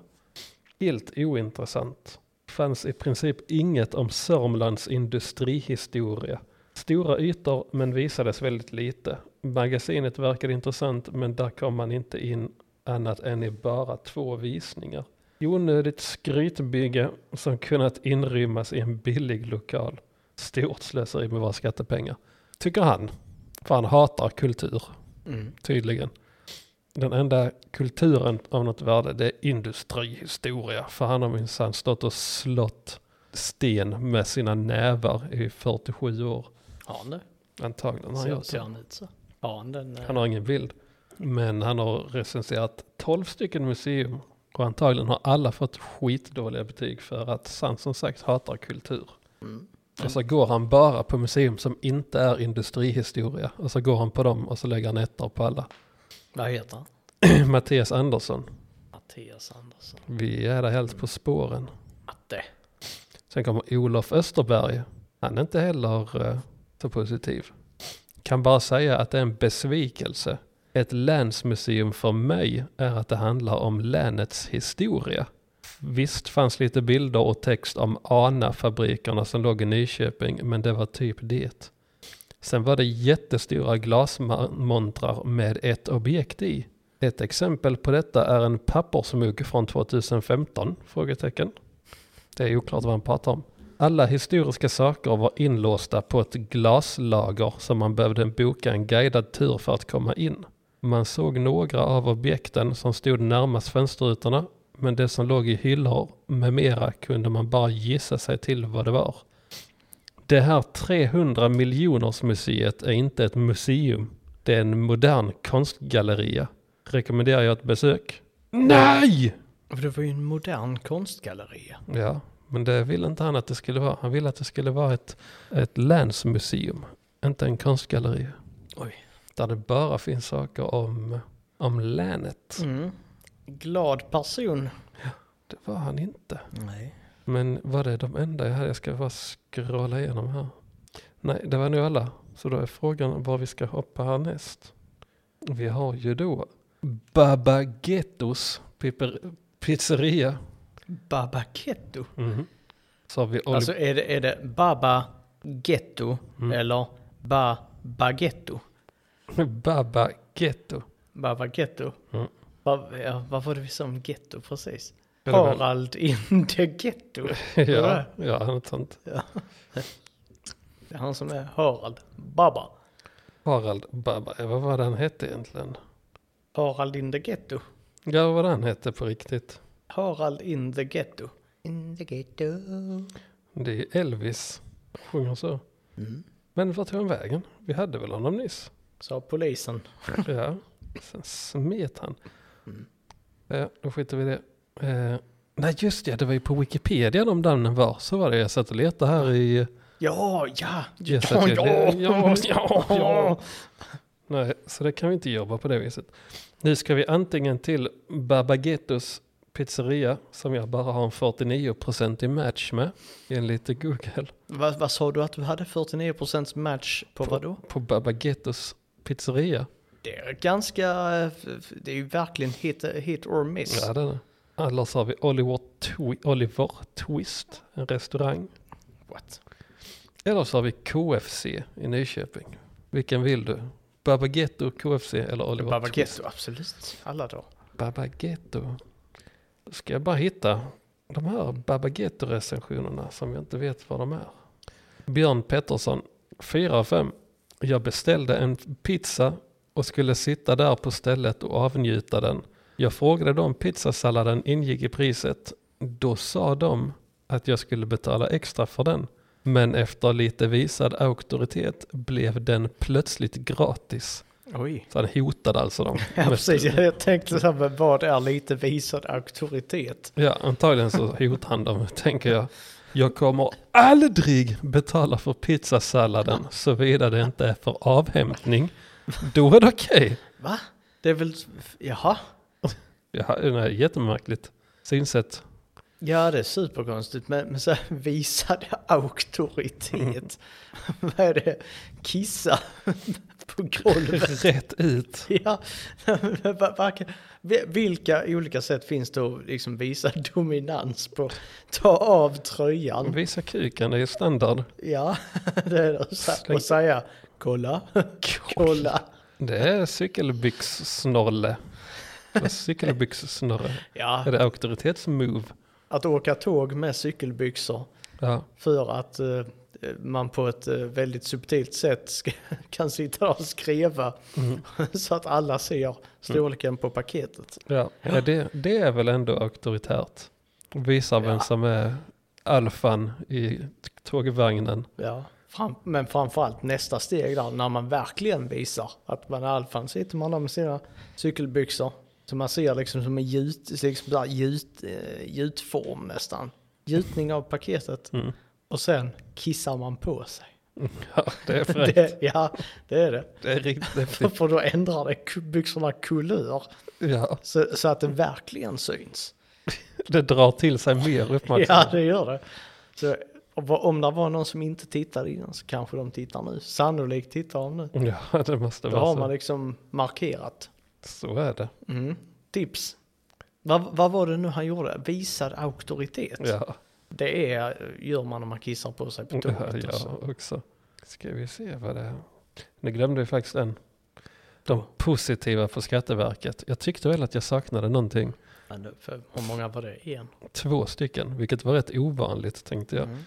Helt ointressant. Fanns i princip inget om Sörmlands industrihistoria. Stora ytor men visades väldigt lite. Magasinet verkade intressant men där kom man inte in annat än i bara två visningar. Onödigt skrytbygge som kunnat inrymmas i en billig lokal. Stort slöseri med våra skattepengar. Tycker han. För han hatar kultur, Mm. tydligen. Den enda kulturen av något värde, det är industrihistoria. För han har minsann stått och slått sten med sina nävar i 47 år. Har han det? Antagligen har han Så gjort ser det. han ut så. Har han den? eh, Han har ingen bild. Men han har recenserat 12 stycken museum. Och antagligen har alla fått skitdåliga betyg för att han som sagt hatar kultur. Mm. Och så går han bara på museum som inte är industrihistoria. Och så går han på dem och så lägger han ettor på alla. Vad heter han? Mattias Andersson. Mattias Andersson. Vi är där helt på spåren. Matte. Sen kommer Olof Österberg. Han är inte heller eh, så positiv. Kan bara säga att det är en besvikelse. Ett länsmuseum för mig är att det handlar om länets historia. Visst fanns lite bilder och text om ANA-fabrikerna som låg i Nyköping, men det var typ det. Sen var det jättestora glasmontrar med ett objekt i. Ett exempel på detta är en pappersmugg från 2015? Frågetecken. Det är oklart vad han pratar om. Alla historiska saker var inlåsta på ett glaslager som man behövde boka en guidad tur för att komma in. Man såg några av objekten som stod närmast fönsterrutorna, men det som låg i hyllor med mera kunde man bara gissa sig till vad det var. Det här 300 miljoners museet är inte ett museum. Det är en modern konstgalleria. Rekommenderar jag ett besök? Nej! Och Det var ju en modern konstgalleria. Ja, men det ville inte han att det skulle vara. Han ville att det skulle vara ett, ett länsmuseum, inte en konstgalleria. Oj. Där det bara finns saker om, om länet. Mm. glad person. Det var han inte. Nej. Men var det de enda jag hade? Jag ska bara scrolla igenom här. Nej, det var nu alla. Så då är frågan var vi ska hoppa härnäst. Vi har ju då Babagettos piper- pizzeria. Baba Ketto. Så har vi Oli- Alltså är det, är det Baba Getto Mm. eller Baba Getto? Babagetto. Baba Getto. Mm. Ba, ja, vad var det vi sa om getto precis? Ja, det var- Harald in the getto. ja, ja, något sånt. Det är han som är Harald. Baba. Harald Baba, ja, vad var det han hette egentligen? Harald in the getto. Ja, vad var det han hette på riktigt? Harald in the getto. In the getto. Det är Elvis. Sjunger så. Mm. Men vart tog han vägen? Vi hade väl honom nyss? Sa polisen. Ja, sen smet han. Ja, då skiter vi i det. Eh, nej, just det, det var ju på Wikipedia de namnen var. Så var det, jag satt och letade här i... Ja, ja, Jag satt ja, ju- ja, ja, ja, ja. ja. Nej, så det kan vi inte jobba på det viset. Nu ska vi antingen till Babagettos pizzeria, som jag bara har en 49% i match med, enligt Google, Vad, vad sa du att du hade 49% match på vad då? på Babagettos pizzeria. Det är ganska, eh, f- det är ju verkligen hit, hit or miss. Ja, den är. Annars har vi Oliver, Twi- Oliver Twist, en restaurang. What? Eller så har vi KFC i Nyköping. Vilken vill du? Babagetto, KFC eller Oliver Twist? Babagetto, absolut. Alla dagar. Babagetto. Ska jag bara hitta de här Babagetto-recensionerna som jag inte vet vad de är. Björn Pettersson, 4 av 5. Jag beställde en pizza och skulle sitta där på stället och avnjuta den. Jag frågade dem om pizzasalladen ingick i priset. Då sa de att jag skulle betala extra för den. Men efter lite visad auktoritet blev den plötsligt gratis. Oj. Så han hotade alltså dem. Ja, precis. Jag, jag tänkte så här, men vad är lite visad auktoritet? Ja, antagligen så hotar han dem, tänker jag. Jag kommer aldrig betala för pizzasalladen såvida det inte är för avhämtning. Då är det okej. Va? Det är väl, jaha? Ja, det är jättemärkligt synsätt. Ja, det är superkonstigt, men, men så här, visad auktoritet. vad är det? Kissa på golvet? Rätt ut. Ja, men va- varken- vi- vilka olika sätt finns det att liksom visa dominans på? Ta av tröjan, Visa kuken, det är standard. ja, det är det. Så- Släng- Och säga kolla, kolla. Det är cykelbyxsnorre. Eller Cykelbyxsnorre. Är Ja, det auktoritetsmove? att åka tåg med cykelbyxor Ja. för att eh, man på ett eh, väldigt subtilt sätt ska, kan sitta där och skriva så att alla ser storleken på paketet. Ja, ja det, det är väl ändå auktoritärt. Visar vem Ja. som är alfan i tågvagnen. Ja. Fram, men framförallt nästa steg där, när man verkligen visar att man är alfan, sitter man där med sina cykelbyxor. Så man ser liksom som en gjut, liksom där, gjut, eh, gjutform nästan. Gjutning av paketet. Mm. Och sen kissar man på sig. Ja, det är fräckt. det, Det, ja, det är det. är riktigt För, häftigt. för då ändrar det ku- byxorna kulör. Ja, Så, så att det verkligen syns. det drar till sig mer Ja, uppmärksamhet. det gör det. Så, och vad- om det var någon som inte tittade innan så kanske de tittar nu. Sannolikt tittar de nu. Ja, det, måste Då har vara man så. liksom markerat. Så är det. Mm. Tips. Vad, vad var det nu han gjorde? Visad auktoritet. Ja, Det är, gör man om man kissar på sig på ja, tåget. ja Ja. också. Ska vi se vad det är. Nu glömde vi faktiskt en. De positiva på Skatteverket. Jag tyckte väl att jag saknade någonting. Men det- för, hur många var det? En? Två stycken, vilket var rätt ovanligt tänkte jag. Mm.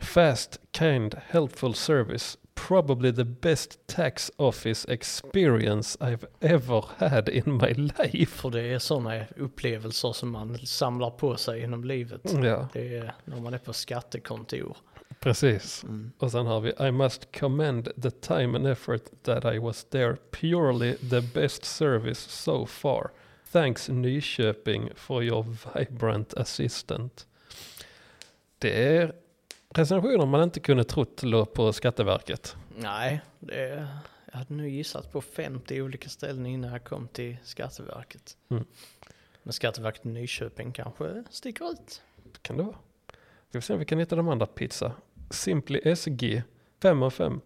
Fast, kind, helpful service. Probably the best tax office experience I've ever had in my life. För det är sådana upplevelser som man samlar på sig genom livet. Ja, Det är när man är på skattekontor. precis. Och sen har vi I must commend the time and effort that I was there. Purely the best service so far. Thanks Nyköping for your vibrant assistant. Det är recensioner man inte kunde trott låg på Skatteverket. Nej, det, jag hade nu gissat på 50 olika ställen innan jag kom till Skatteverket. Mm. Men Skatteverket i Nyköping kanske sticker ut. Kan det vara? Ska vi se om vi kan hitta de andra pizza. Simply SG 5 av 5.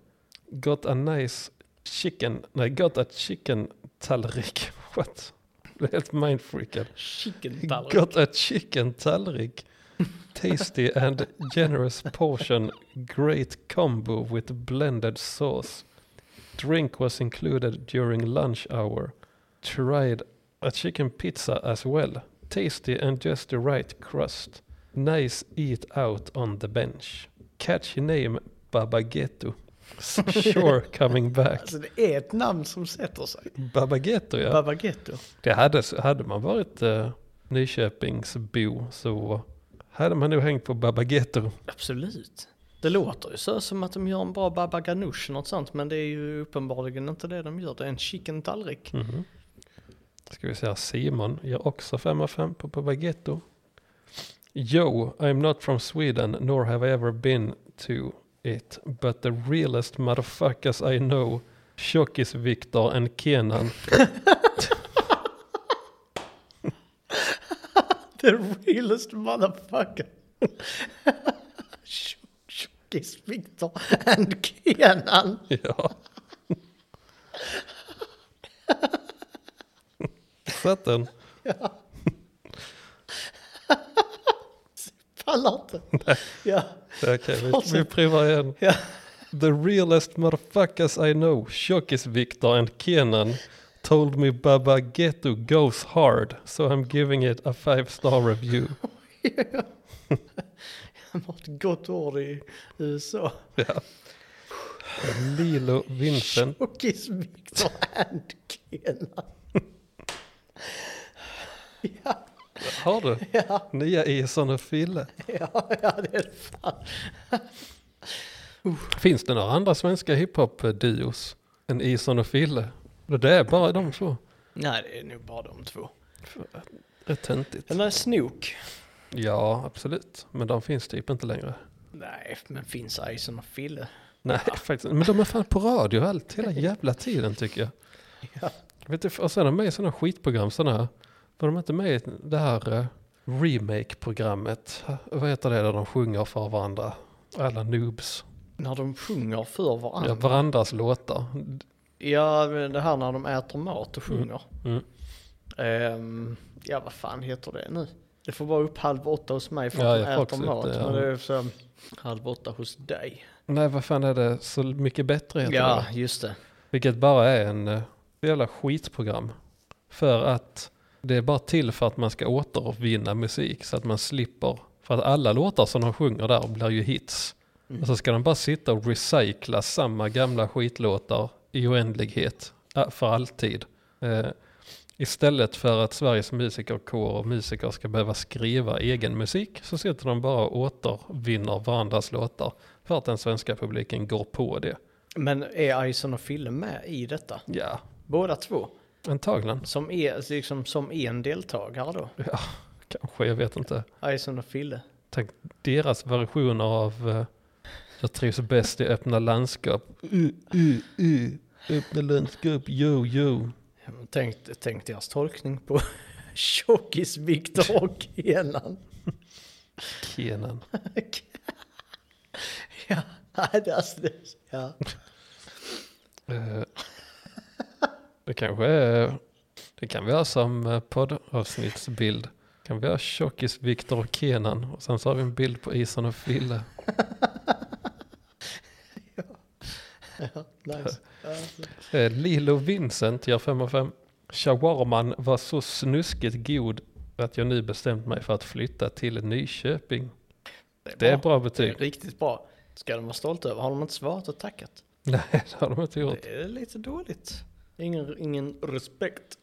Got a nice chicken, nej got a chicken tallrik. What? Jag blev helt mindfreakad. Chicken Got a chicken tallrik. Tasty and generous portion. Great combo with blended sauce. Drink was included during lunch hour. Tried a chicken pizza as well. Tasty and just the right crust. Nice eat out on the bench. Catchy name Babageto. Sure coming back. Alltså det är ett namn som sätter sig. Babageto ja. Babagetto. Det hade, hade man varit eh, Nyköpingsbo så hade man nog hängt på Babagetto. Absolut. Det låter ju så som att de gör en bra baba ganoush eller något sånt, men det är ju uppenbarligen inte det de gör. Det är en chicken tallrik. Mhm. Ska vi säga Simon ger också 5 av 5 på Babagetto. Yo, I'm not from Sweden nor have I ever been to it but the realest motherfuckers I know Tjockis Viktor and Kenan The realest motherfucker. Tjock- Tjockis Viktor and Kenan. Ja. Satt den? Pallar inte. Ja. Okej, vi, vi provar igen. Ja. The realest motherfuckers I know, Tjockis Victor and Kenan, told me Baba Ghetto goes hard, so I'm giving it a five star review. Han har ett gott ord i USA. Lilo Vincent, Tjockis Viktor and Kenan. Ja, har du? ja, Nya Ison och Fille. ja, ja, det är fan. Finns det några andra svenska hiphop-duos än Ison och Fille? Det är bara de två. Nej, det är nog bara de två. Rätt töntigt. Den där Snook. Ja, absolut. Men de finns typ inte längre. Nej, men finns Ison och Fille? Nej, faktiskt inte. Men de är fan på radio allt, hela jävla tiden tycker jag. Ja. Vet du, och sen är de med i sådana skitprogram, sådana. Var de inte med i det här eh, remake-programmet? Vad heter det där de sjunger för varandra? Alla noobs. När de sjunger för Ja, varandra. varandras låtar. Ja, men det här när de äter mat och sjunger. Mm. Ehm, ja, vad fan heter det nu? Det får vara upp halv åtta hos mig för Ja, att jag de får äter också mat. upp det, ja. Men det är så halv åtta hos dig. Nej, vad fan är det? Så mycket bättre heter Ja, det. just det. Vilket bara är en eh, jävla skitprogram. För att det är bara till för att man ska återvinna musik så att man slipper. För att alla låtar som de sjunger där blir ju hits. Och så ska de bara sitta och recycla samma gamla skitlåtar i oändlighet. ä, För alltid. Eh, istället för att Sveriges musikerkår och musiker ska behöva skriva egen musik så sitter de bara och återvinner varandras låtar. För att den svenska publiken går på det. Men är Ison och Fille med i detta? Ja, Båda två? antagligen. Som, är, liksom, som en deltagare då? Ja, kanske, jag vet inte. Ison och Fille? Tänk deras versioner av eh, Jag trivs bäst i öppna landskap. Uh, uh, uh. Öppna landskap, yo, yo. Ja, men Tänk, tänk deras tolkning på tjockis-Viktor och Kenan. Kenan. ja, nej, det, alltså, det, ja. Eh, det kanske är, det kan vi ha som eh, poddavsnittsbild. Kan vi ha tjockis Viktor och Kenan och sen så har vi en bild på Isan och Fille. ja, nice. Alltså, Eh, Lilo Vincent gör 5 av 5. Shawarman var så snuskigt god att jag nu bestämt mig för att flytta till Nyköping. Det är bra typ. Det är betyg. riktigt bra. Ska de vara stolta över. Har de inte svarat och tackat? Nej, det har de inte gjort. Det är lite dåligt. Ingen, ingen respekt.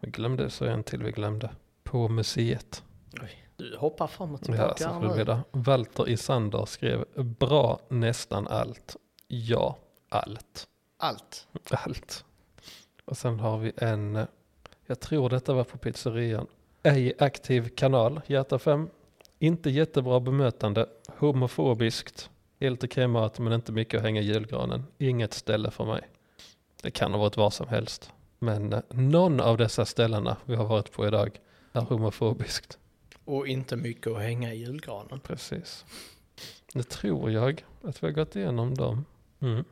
Vi glömde, så en till vi glömde. På museet. Oj, du hoppar fram och Ja, tillbaka. så här får det bli nu. där. Walter Isander skrev bra nästan allt. Ja, allt. Allt. Allt. Och sen har vi en, eh, jag tror detta var på pizzerian. Ej aktiv kanal, hjärta 5. Inte jättebra bemötande, homofobiskt. Helt okej mat men inte mycket att hänga i julgranen. Inget ställe för mig. Det kan ha varit vad som helst. Men eh, någon av dessa ställena vi har varit på idag är homofobiskt. Och inte mycket att hänga i julgranen. Precis. Nu tror jag att vi har gått igenom dem. Mm.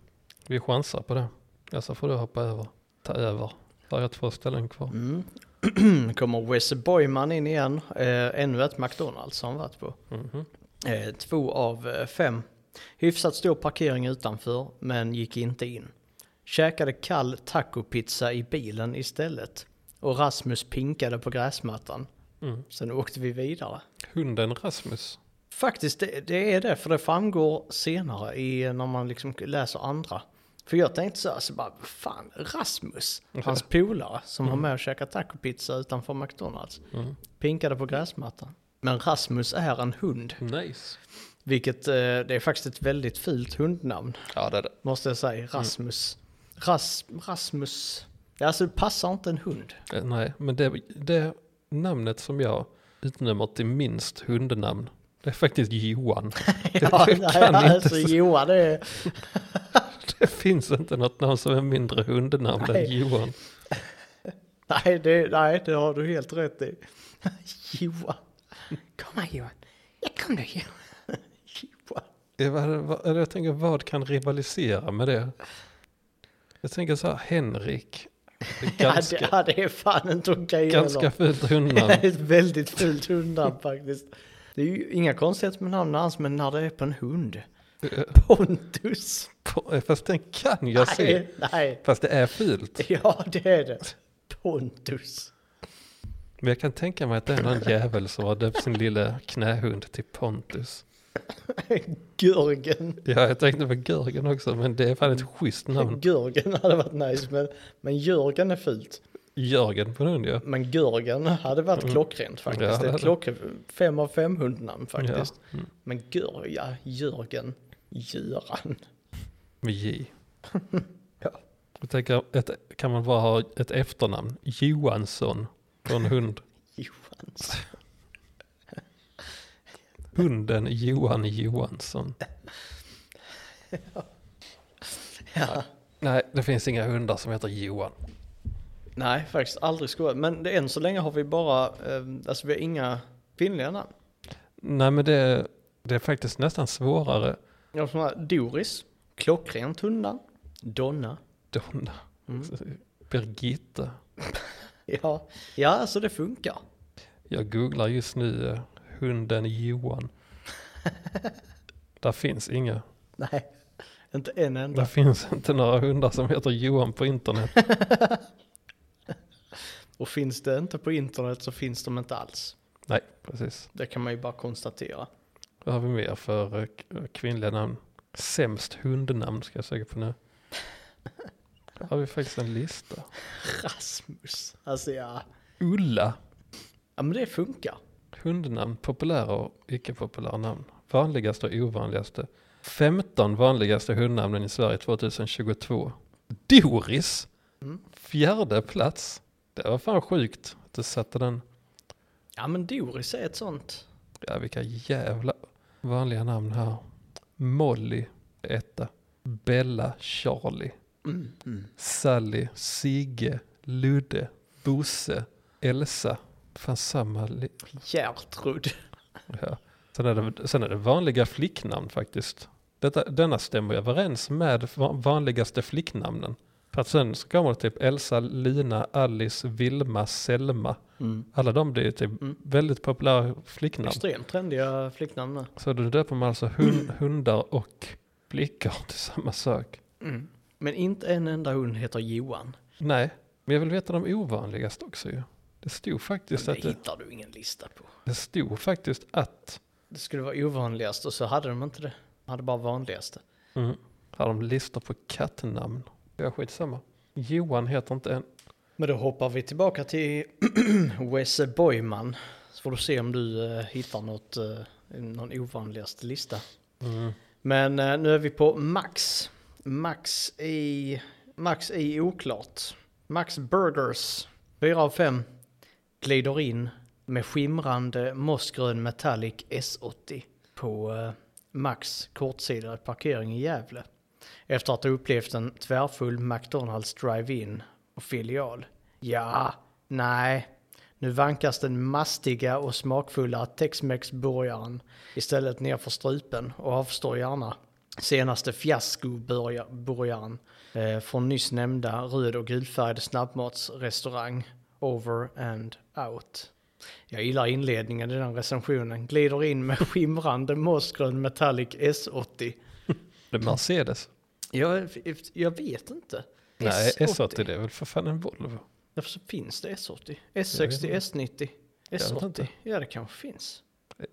Vi chansar på det. Alltså får du hoppa över. Ta över. Där har jag två ställen kvar. Mm. Kommer Wes Boyman in igen. Eh, ännu ett McDonalds har han varit på. Mhm. Eh, två av eh, fem. Hyfsat stor parkering utanför, men gick inte in. Käkade kall tacopizza i bilen istället. Och Rasmus pinkade på gräsmattan. Mm. Sen åkte vi vidare. Hunden Rasmus. Faktiskt, det, det är det, för det framgår senare i, när man liksom läser andra. För jag tänkte så, alltså bara, fan, Rasmus, hans polare som var med och käkade tacopizza utanför McDonalds, Mm. pinkade på gräsmattan. Men Rasmus är en hund, Nice. vilket eh, det är faktiskt ett väldigt fult hundnamn, Ja, det är det. måste jag säga. Rasmus. Mm. Ras, Rasmus. Ja, Alltså det passar inte en hund. Eh, Nej, men det, det namnet som jag utnämner till minst hundnamn, det är faktiskt Johan. Det, det nej, kan inte, alltså, Johan, det är... det finns inte något namn som är mindre hundnamn än Nej. Johan. Nej det, nej, det har du helt rätt i. Johan. Kom här Johan. Jag kom nu Johan. Johan. Det var, vad- eller jag tänker, vad kan rivalisera med det? Jag tänker så här, Henrik. Det är Ganska, ja, det, ja, det är fan inte okej ganska heller. fult Det hundnamn. är ett väldigt fult hundnamn faktiskt. Det är ju inga konstigheter med namn alls, men när det är på en hund. Pontus. På- Fast den kan jag se. Nej, nej. Fast det är fult. Ja, det är det. Pontus. Men jag kan tänka mig att det är någon jävel som har döpt sin lilla knähund till Pontus. Görgen. Ja, jag tänkte på Görgen också, men det är fan ett schysst namn. Görgen hade varit nice, men, men Jörgen är fult. Jörgen på en hund, ja. Men Görgen hade varit klockrent Mm. Ja, faktiskt. det ett hade. klock, fem av fem hundnamn faktiskt. Ja. Mm. Men Gör, ja, Jörgen, Göran. Med J. Ja. Jag tänker, ett, kan man bara ha ett efternamn? Johansson på en hund. Johans. Hunden Johan Johansson. Ja. Nej, det finns inga hundar som heter Johan. Nej, faktiskt aldrig skojat. Men det, än så länge har vi bara, eh, alltså vi har inga kvinnliga namn. Nej, men det, det är faktiskt nästan svårare. Jag har såna här Doris, klockrent hundnamn. Donna. Donna, Mm. Birgitta. Ja. ja, alltså det funkar. Jag googlar just nu eh, hunden Johan. Där finns inga. Nej, inte en enda. Där finns inte några hundar som heter Johan på internet. Och finns det inte på internet så finns de inte alls. Nej, precis. Det kan man ju bara konstatera. Vad har vi mer för eh, k- kvinnliga namn? Sämst hundnamn ska jag söka på nu. Har vi faktiskt en lista. Rasmus, alltså ja. Ulla. Ja men det funkar. Hundnamn, populära och icke-populära namn. Vanligaste och ovanligaste. 15 vanligaste hundnamnen i Sverige 2022. Doris! Mm. Fjärde plats. Det var fan sjukt att du satte den. Ja men Doris är ett sånt. Ja, vilka jävla vanliga namn här. Molly, etta. Bella, Charlie. Sally, Sigge, Ludde, Bosse, Elsa. Fan samma... Li- Gertrud. Ja. Sen, är det, sen är det vanliga flicknamn faktiskt. Detta, denna stämmer överens med va- vanligaste flicknamnen. För att sen så kommer det typ Elsa, Lina, Alice, Vilma, Selma. Alla de det är typ Mm. väldigt populära flicknamn. Extremt trendiga flicknamn nu. Så då döper man alltså hund, hundar och flickor till samma sak. Mm. Men inte en enda hund heter Johan. Nej, men jag vill veta de ovanligaste också ju. Det stod faktiskt det att det, hittar du ingen lista på. det stod faktiskt att Det skulle vara ovanligast och så hade de inte det. De hade bara vanligaste. Mm. Har de listor på kattnamn? Ja, skitsamma. Johan heter inte en. Men då hoppar vi tillbaka till Wesse Boyman. Så får du se om du eh, hittar något, eh, någon ovanligaste lista. Mm. Men eh, nu är vi på Max. Max i, Max i oklart. Max Burgers. 4 av 5. Glider in med skimrande mossgrön metallic S80 på eh, Max kortsida parkering i Gävle. Efter att ha upplevt en tvärfull McDonalds drive-in och filial. Ja, nej. Nu vankas den mastiga och smakfulla Tex-Mex-burgaren istället ner för strupen och avstår gärna senaste fiaskoburgaren eh, från nyss nämnda röd och gulfärgade snabbmatsrestaurang Over and Out. Jag gillar inledningen i den recensionen. Glider in med skimrande mossgrön metallic S80. Det är Mercedes. Jag, jag vet inte. Nej, S80 det är väl för fan en Volvo. Varför finns det S80? Jag S60, vet S90, vet S80? inte. Ja, det kanske finns.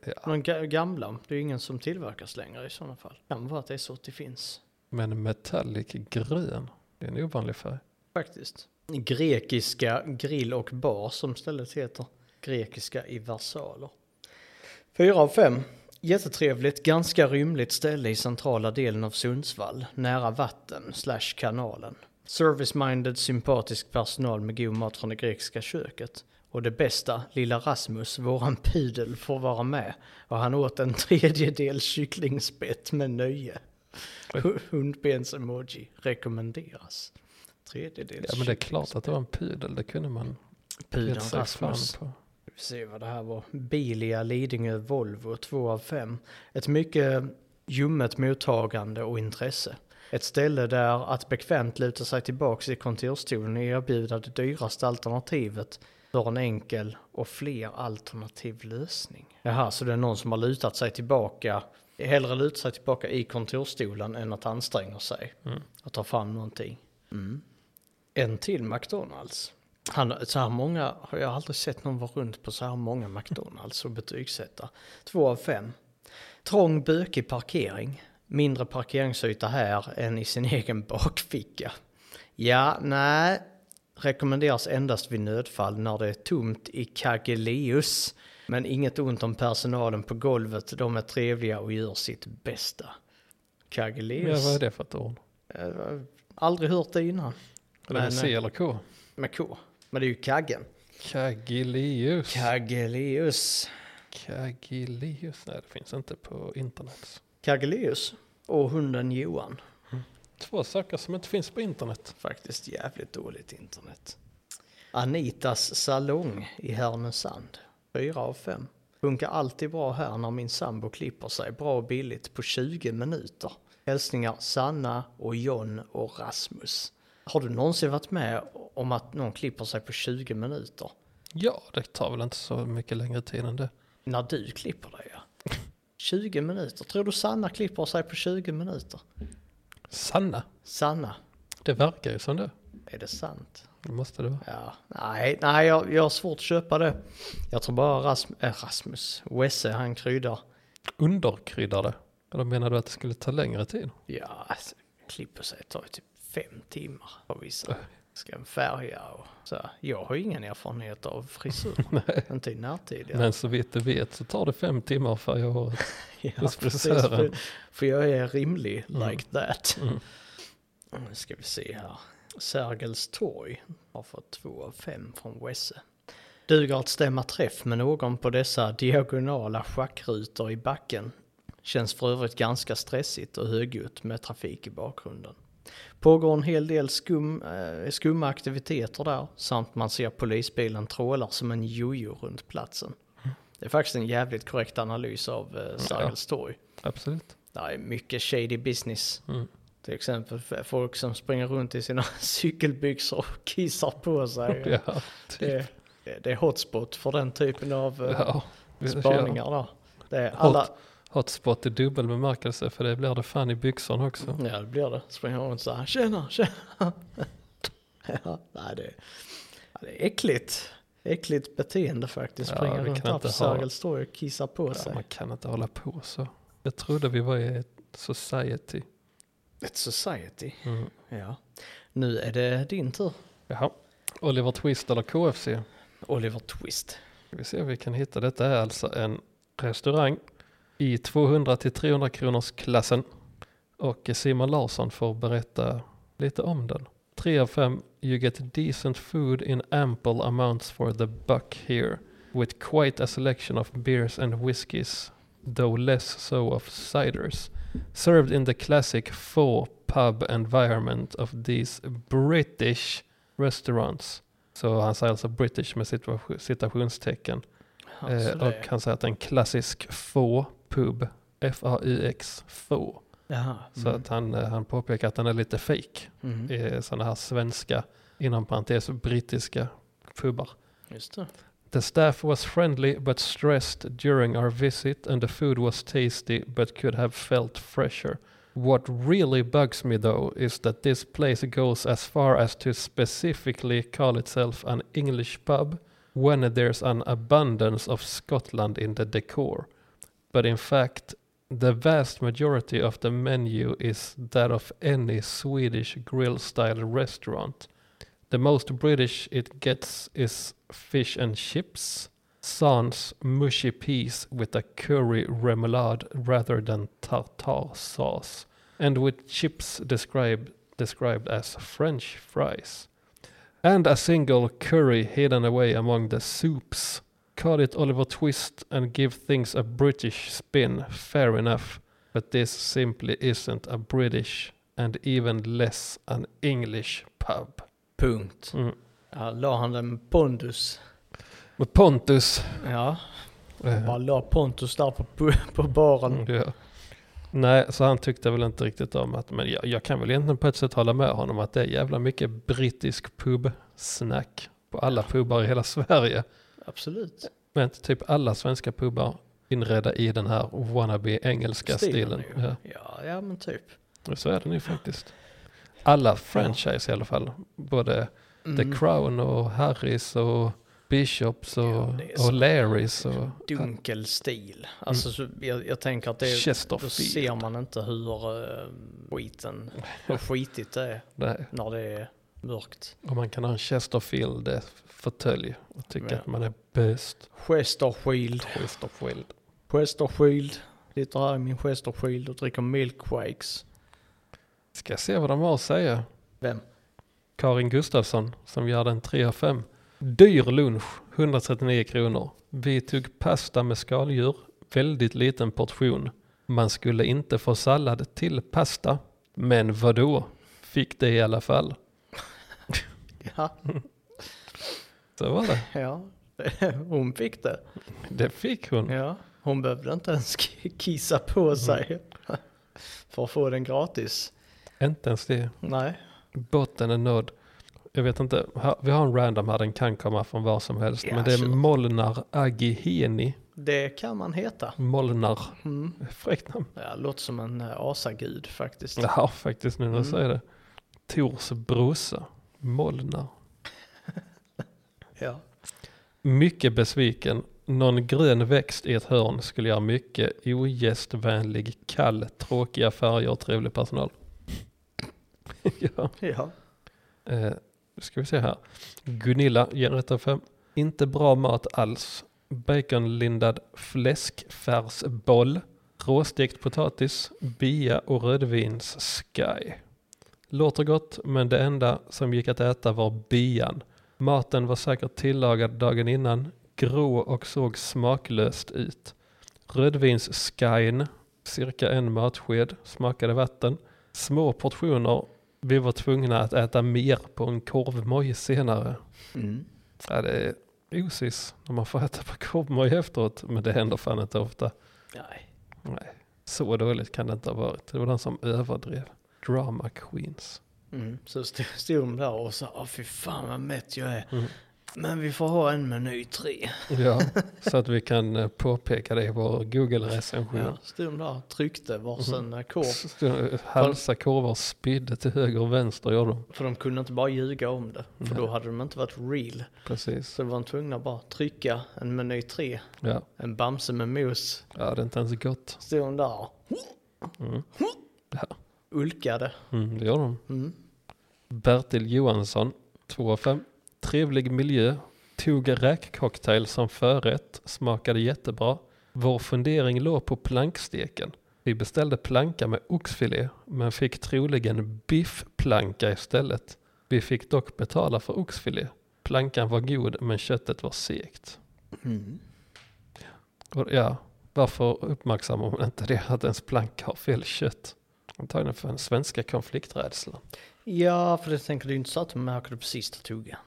Ja, Någon ga- gamla. Det är ingen som tillverkas längre i sådana fall. Kan vara att S80 finns. men metallic grön. Det är en ovanlig färg. Faktiskt. Grekiska grill och bar som stället heter. Grekiska i versaler. Fyra av fem. Jättetrevligt, ganska rymligt ställe i centrala delen av Sundsvall, nära vatten slash kanalen. Service-minded, sympatisk personal med god mat från det grekiska köket. Och det bästa, lilla Rasmus, våran pudel, får vara med. Och han åt en tredjedel kycklingspett med nöje. Hu- Hundbens-emoji rekommenderas. Tredjedels Ja, men det är klart att det var en pudel. Det kunde man pudeln gett sig fan Rasmus. på. Vi ser vad det här var. Bilia Lidingö Volvo 2 av 5. Ett mycket ljummet mottagande och intresse. Ett ställe där att bekvämt luta sig tillbaks i kontorstolen och erbjuda det dyraste alternativet för en enkel och fler alternativ lösning. Jaha, så det är någon som har lutat sig tillbaka, hellre lutat sig tillbaka i kontorstolen än att anstränga sig Mm. att ta fram någonting. En till McDonalds. Han, så här många har jag aldrig sett någon vara runt på så här många McDonalds och betygsätta. Två av fem. Trång bökig parkering. Mindre parkeringsyta här än i sin egen bakficka. Ja, nej. Rekommenderas endast vid nödfall när det är tomt i Kageleus. Men inget ont om personalen på golvet. De är trevliga och gör sitt bästa. Ja, Kageleus. vad är det för ett ord? Jag har Eh, aldrig hört det innan. Är det Nej, med nej. C eller K? Med K. Men det är ju kaggen. Kagileus. Kaggelius. Kagileus. Nej, det finns inte på internet. Kaggelius. Och hunden Johan. Två saker som inte finns på internet. Faktiskt jävligt dåligt internet. Anitas salong i Härnösand. Fyra av fem. Funkar alltid bra här när min sambo klipper sig bra och billigt på 20 minuter. Hälsningar Sanna och John och Rasmus. Har du någonsin varit med om att någon klipper sig på 20 minuter? Ja, det tar väl inte så mycket längre tid än det. När du klipper dig ja. 20 minuter. Tror du Sanna klipper sig på 20 minuter? Sanna. Sanna, Det verkar ju som det. är det sant? Det måste det vara. Ja, nej, nej jag, jag har svårt att köpa det. Jag tror bara Rasm- äh, Rasmus, Wesse, han kryddar. Underkryddade. Eller menar du att det skulle ta längre tid? Ja, alltså, klipper sig tar ju typ fem timmar på vissa. Ska en färga och så. Jag har ju ingen erfarenhet av frisyr. Inte i närtid. Ja. Men så vitt du vet så tar det fem timmar för att göra håret. Ja, Hos precis, frisören. för, för jag är rimlig like that. Mm. Nu ska vi se här. Sergels torg har fått två av fem från Wesse. Duger att stämma träff med någon på dessa diagonala schackrutor i backen. Känns för övrigt ganska stressigt och högljutt med trafik i bakgrunden. Pågår en hel del skum, eh, skumma aktiviteter där samt man ser polisbilen trålar som en jojo runt platsen. Det är faktiskt en jävligt korrekt analys av eh, Sergels torg. Absolut. Det är mycket shady business. Mm. Till exempel f- folk som springer runt i sina cykelbyxor och kissar på sig. Ja, typ. det, det är hotspot för den typen av eh, Ja. Vi kör. spaningar där. Det är alla, Hotspot i dubbel bemärkelse för det blir det fan i byxorna också. ja det blir det. Springer runt så här, tjena, tjena. ja, nej, det, ja, det är äckligt. Äckligt beteende faktiskt. Ja, Springer vi runt kan där inte på ha- Sergels torg och kissar på Ja, sig. man kan inte hålla på så. Jag trodde vi var i ett society. Ett society. Mm. Ja. Nu är det din tur. Jaha. Oliver Twist eller KFC? Oliver Twist. Ska vi se om vi kan hitta. Detta är alltså en restaurang i 200-300 kronors klassen. Och Simon Larsson får berätta lite om den. 3 av 5. You get decent food in ample amounts for the buck here. With quite a selection of beers and whiskies. Though less so of ciders. Served in the classic faux pub environment of these British restaurants. Så han säger alltså British med situa- citationstecken. Alltså eh, och det. han säger att en klassisk få pub, F-A-U-X, få. Jaha. Så att han, eh, han påpekar att den är lite fake Mm. Mm. i sådana här svenska, inom parentes brittiska pubar. Just det. The staff was friendly but stressed during our visit, and the food was tasty but could have felt fresher. What really bugs me though is that this place goes as far as to specifically call itself an English pub when there's an abundance of Scotland in the decor. But in fact, the vast majority of the menu is that of any Swedish grill style restaurant. The most British it gets is fish and chips, sans mushy peas with a curry remoulade rather than tartar sauce, and with chips described described as French fries, and a single curry hidden away among the soups. Call it Oliver Twist and give things a British spin, fair enough, but this simply isn't a British and even less an English pub. Punkt. Mm. Ja, la han den pondus. Med Pontus. Ja, eh, bara la Pontus där på, pu- på baren. mm, ja. Nej, så han tyckte väl inte riktigt om att, men jag, jag kan väl egentligen på ett sätt hålla med honom att det är jävla mycket brittisk pubsnack på alla pubar i hela Sverige. Absolut. Men typ alla svenska pubar inredda i den här wannabe engelska stilen. ju. Ja, ja men typ. Ja, så är den ju faktiskt. Alla franchise i alla fall, både Mm. The Crown och Harris och Bishops och, Ja, det är så- och Larrys och Dunkel Mm. stil. Alltså så, jag, jag tänker att det är... Då Chesterfield. ser man inte hur uh, skiten, hur skitigt det är Nej. när det är mörkt. Och man kan ha en Chesterfield-fåtölj och tycka Ja. att man är bäst. Chesterfield. Chesterfield. Chesterfield. Sitter här i min Chesterfield och dricker milkshakes. Ska se vad de har att säga. Vem? Karin Gustafsson som gör den 3 av 5. Dyr lunch, 139 kronor. Vi tog pasta med skaldjur, väldigt liten portion. Man skulle inte få sallad till pasta, men vadå? Fick det i alla fall. Ja, Så var det. ja. hon fick det. Det fick hon. Ja, hon behövde inte ens k- kissa Mm. på sig för att få den gratis. Inte ens det. Nej, Botten är nådd. Jag vet inte, här- vi har en random här, den kan komma från var som helst. Ja, men det är kör. Molnar Agiheni. det kan man heta. Molnar, Mm. fräckt namn. Ja, låter som en eh, asagud faktiskt. Ja, faktiskt nu när du Mm. säger det. Tors brorsa, Molnar. Ja. Mycket besviken. Någon grön växt i ett hörn skulle göra mycket ogästvänlig, kall, tråkiga färger och trevlig personal. ja. ja. Eh, nu ska vi se här. Gunilla, generator 5. Inte bra mat alls. Baconlindad fläskfärsboll. Råstekt potatis, bia och rödvins sky. Låter gott, men det enda som gick att äta var bian. Maten var säkert tillagad dagen innan, grå och såg smaklöst ut. Rödvins skyn, cirka en matsked, smakade vatten. Små portioner vi var tvungna att äta mer på en korvmoj senare. Mm. Ja, det är osis när man får äta på korvmoj efteråt, men det händer fan inte ofta. Nej. Nej, så dåligt kan det inte ha varit. Det var den som överdrev. Drama queens. Mm. Så stod, stod de där och sa, åh fy fan vad mätt jag är. Mm. Men vi får ha en meny tre. Ja, så att vi kan eh, påpeka det i vår Google-recension. Ja. Stod de där och tryckte varsin mm. korv. Ja. Halsa korvar och spydde till höger och vänster gör de. För de kunde inte bara ljuga om det. För då Nej. hade de inte varit real. Precis. Så de var tvungna att bara trycka en meny tre. Ja. En Bamse med mos. ja, det är inte ens gott. Stod de där Mm. ulkade. Mm, det gör de. Mm. Bertil Johansson, 2 av 5. Trevlig miljö. Tog räkcocktail som förrätt. Smakade jättebra. Vår fundering låg på planksteken. Vi beställde planka med oxfilé, men fick troligen biffplanka istället. Vi fick dock betala för oxfilé. Plankan var god, men köttet var segt. Mm. Och ja, varför uppmärksammar man inte det, att ens planka har fel kött? Antagligen för den svenska konflikträdslan. Ja, för det tänker du ju inte så att de märker det på sista tuggan.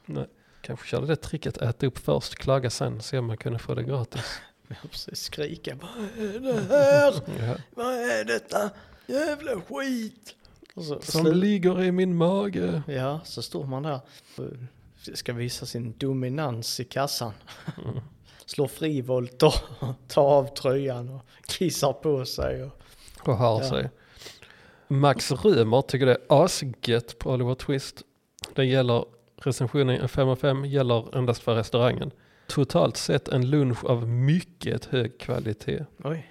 Kanske körde det tricket äta upp först, klaga sen, se om man kunde få det gratis. Jag precis skrika vad är det här? Ja. Vad är detta? Jävla skit! Och så, Som slut- ligger i min mage. Ja, så står man där och ska visa sin dominans i kassan. Mm. Slår frivolter, tar av tröjan och kissar på sig. Och, och har Ja. sig. Max Römer tycker det är asgött på Oliver Twist. Det gäller recensionen 5 av 5 gäller endast för restaurangen. Totalt sett en lunch av mycket hög kvalitet. oj,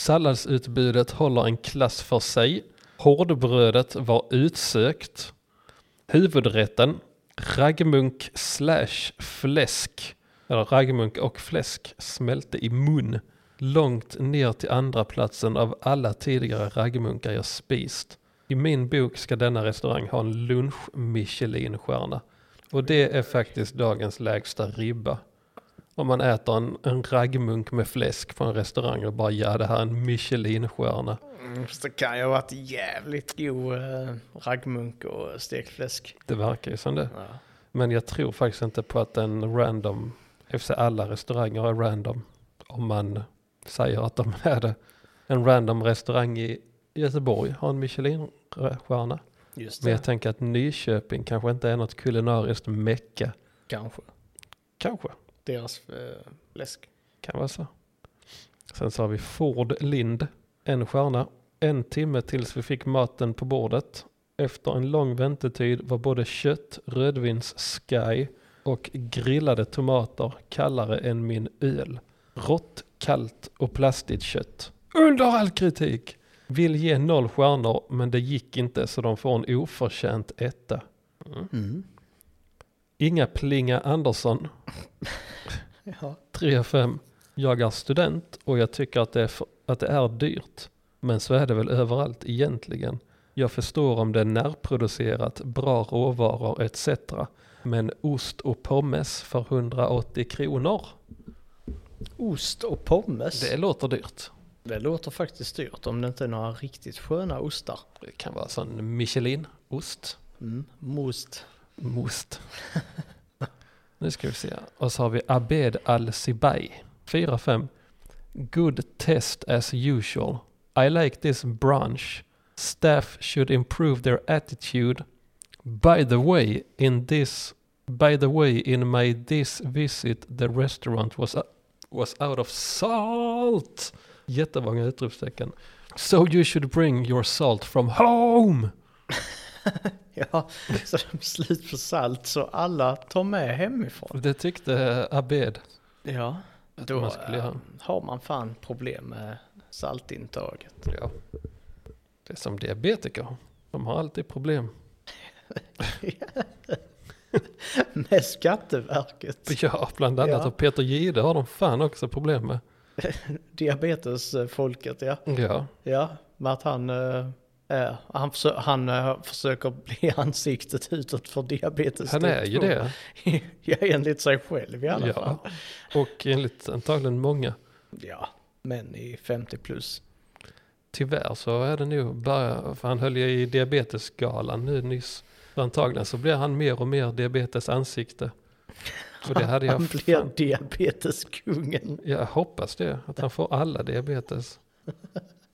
Salladsutbudet håller en klass för sig. Hårdbrödet var utsökt. Huvudrätten, raggmunk slash fläsk, eller raggmunk och fläsk smälte i mun. Långt ner till andra platsen av alla tidigare raggmunkar jag spist. I min bok ska denna restaurang ha en lunch Michelinstjärna. Och det är faktiskt dagens lägsta ribba. Om man äter en, en raggmunk med fläsk från en restaurang och bara ja det här är en Michelinstjärna. Mm, fast det kan ju ha varit jävligt god eh, raggmunk och stekt fläsk. Det verkar ju som det. Ja. Men jag tror faktiskt inte på att en random, eftersom alla restauranger är random, om man säger att de är det. En random restaurang i Göteborg har en Michelinstjärna. Just Men det, jag tänker att Nyköping kanske inte är något kulinariskt mecka. kanske. Kanske, Deras eh, fläsk. kan vara så. Sen så har vi Ford Lind, en stjärna. En timme tills vi fick maten på bordet. Efter en lång väntetid var både kött, rödvinssky och grillade tomater kallare än min öl. Rått, kallt och plastigt kött. Under all kritik! Vill ge noll stjärnor men det gick inte så de får en oförtjänt etta. Inga Plinga Andersson, Ja. 3 av 5. Jag är student och jag tycker att det, är för, att det är dyrt. Men så är det väl överallt egentligen. Jag förstår om det är närproducerat, bra råvaror etc. Men ost och pommes för 180 kronor, Ost och pommes. det Det... låter dyrt. låter faktiskt dyrt om det inte är några riktigt sköna ostar. Det kan vara sån Michelin-ost. Mm. Most. Most. nu ska vi se. Och så har vi Abed Al-Sibai. 4-5. Good test as usual. I like this branch. Staff should improve their attitude. By the way, in this... By the way, in my this visit the restaurant was, uh, was out of salt. Jättemånga utropstecken. So you should bring your salt from home! Ja, så de är slut på salt så alla tar med hemifrån. Det tyckte Abed. Ja, Att då man skulle eh, göra. har man fan problem med saltintaget. Ja. Det är som diabetiker. De har alltid problem. med Skatteverket. Ja, bland annat. Ja. Och Peter Gide har de fan också problem med. Diabetesfolket, ja. Ja, Ja, med att han, eh, är, han, försö- han eh, försöker bli ansiktet utåt för diabetes. han är typ ju två. det. ja, enligt sig själv i alla fall. Ja. Och enligt antagligen många. Ja, men i 50 plus. Tyvärr så är det nog bara, för han höll ju i diabetesgalan nu nyss. Så antagligen så blir han mer och mer diabetes ansikte. Och det hade han jag fan, blir diabeteskungen. jag hoppas det, att han får alla diabetes.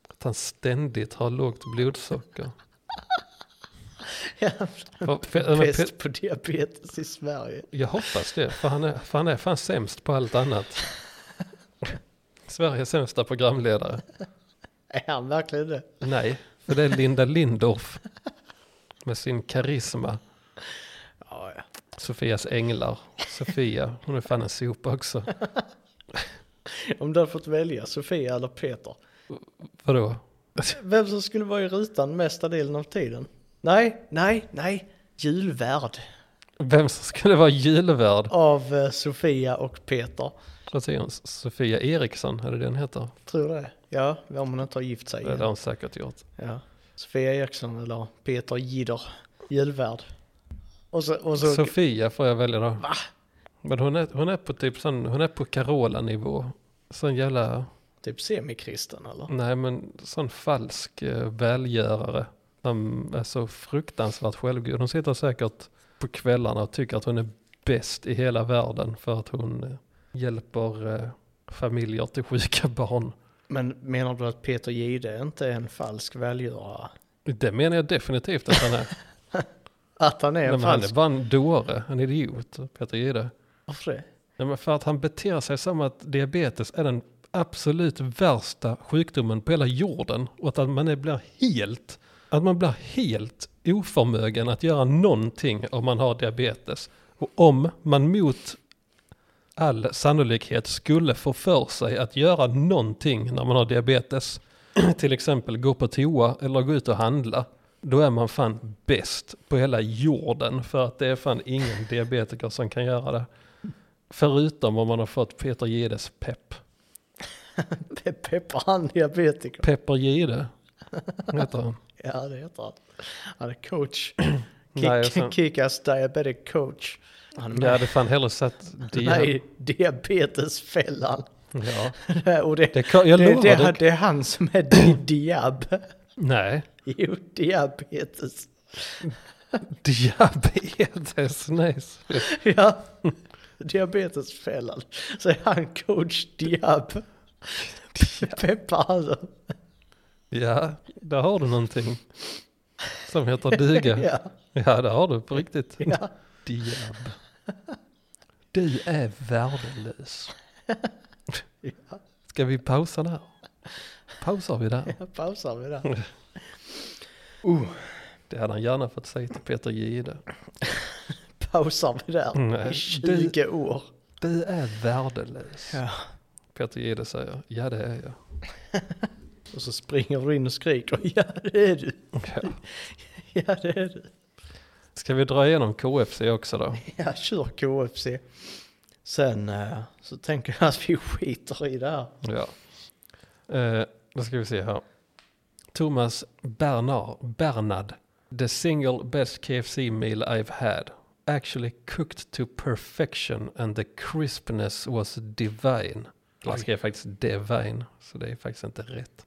Att han ständigt har lågt blodsocker. Ja, För, för, men Pe- Bäst på diabetes i Sverige. Jag hoppas det, för han är, för han är fan sämst på allt annat. Sveriges sämsta programledare. Är han verkligen det? Nej, för det är Linda Lindorff. Med sin karisma. Ja, ja. Sofias änglar. Sofia, hon är fan en sopa också. Om du hade fått välja Sofia eller Peter. Vadå? Vem som skulle vara i rutan mesta delen av tiden? Nej, nej, nej. Julvärd Vem som skulle vara julvärd? av eh, Sofia och Peter. Vad säger hon? Sofia Eriksson, är det det hon heter? Tror du det? Ja, om hon inte har gift sig. Det har än. hon säkert gjort. Ja. Sofia Eriksson eller Peter Gider, julvärd. Och så, och så Sofia får jag välja då. Va? Men hon är, hon är på typ sån, hon är på Carola-nivå. Sån jävla... typ semikristen eller? Nej, men sån falsk eh, välgörare. som är så fruktansvärt självgod. Hon sitter säkert på kvällarna och tycker att hon är bäst i hela världen för att hon eh, hjälper eh, familjer till sjuka barn. Men menar du att Peter Gide inte är en falsk välgörare? Det menar jag definitivt att han är. Att han är Nej, en men han är falsk? bara en dåre, en idiot, Peter Jihde. Varför det? Nej, men för att han beter sig som att diabetes är den absolut värsta sjukdomen på hela jorden. Och att man är- blir helt, att man blir helt oförmögen att göra någonting om man har diabetes. Och om man mot all sannolikhet skulle få för sig att göra någonting när man har diabetes, till exempel gå på toa eller gå ut och handla, då är man fan bäst på hela jorden för att det är fan ingen diabetiker som kan göra det. Förutom om man har fått Peter Gides pepp. Pe- Peppar han diabetiker? Pepper Gide heter han. Ja, det heter han. Han är coach. Nej, och Kick, sen- Kickass diabetic coach. Han är Jag med hade fan hellre sett i Dia. diabetesfällan. Ja. Och det, Det kan, jag det, lovar, det, det, det, det är han som är di- diab. Nej, Jo, diabetes. diabetes, nice. Ja, diabetesfällan. Så är han coach diab. Peppar han. Ja, där har du någonting. Som heter duga. Ja, Ja, där har du på riktigt. ja. Diab. Du är värdelös. Ska vi pausa där? Pausar vi där? Jag pausar vi där. Det hade han gärna fått säga till Peter Gide. Pausar vi där Nej. i 20 år. Du är värdelös. Ja. Peter Gide säger, ja det är jag. Och så springer du in och skriker. Ja, det är du. Ja. Ja, det är du. Ska vi dra igenom KFC också då? Ja, kör KFC. Sen eh, så tänker jag att vi skiter i det här. Ja. Eh, då ska vi se här. Thomas Bernard, Bernard. The single best KFC meal I've had. Actually cooked to perfection and the crispness was divine. Han Oj. skrev faktiskt divine, så det är faktiskt inte rätt.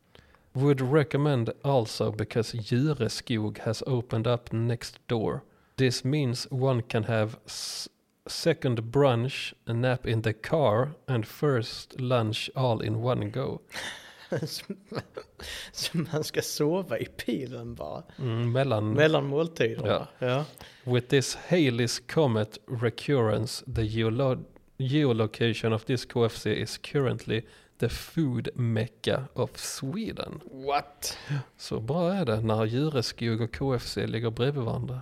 Would recommend also because Jureskog has opened up next door. This means one can have s- second brunch, a nap in the car, and first lunch all in one go. Som- Som man ska sova i pilen bara. Mm, mellan Mellan måltiderna. Ja. With this Halley's Comet recurrence, the geolo- geolocation of this KFC is currently the food mecca of Sweden. What? Så bra är det när Jureskog och KFC ligger bredvid varandra.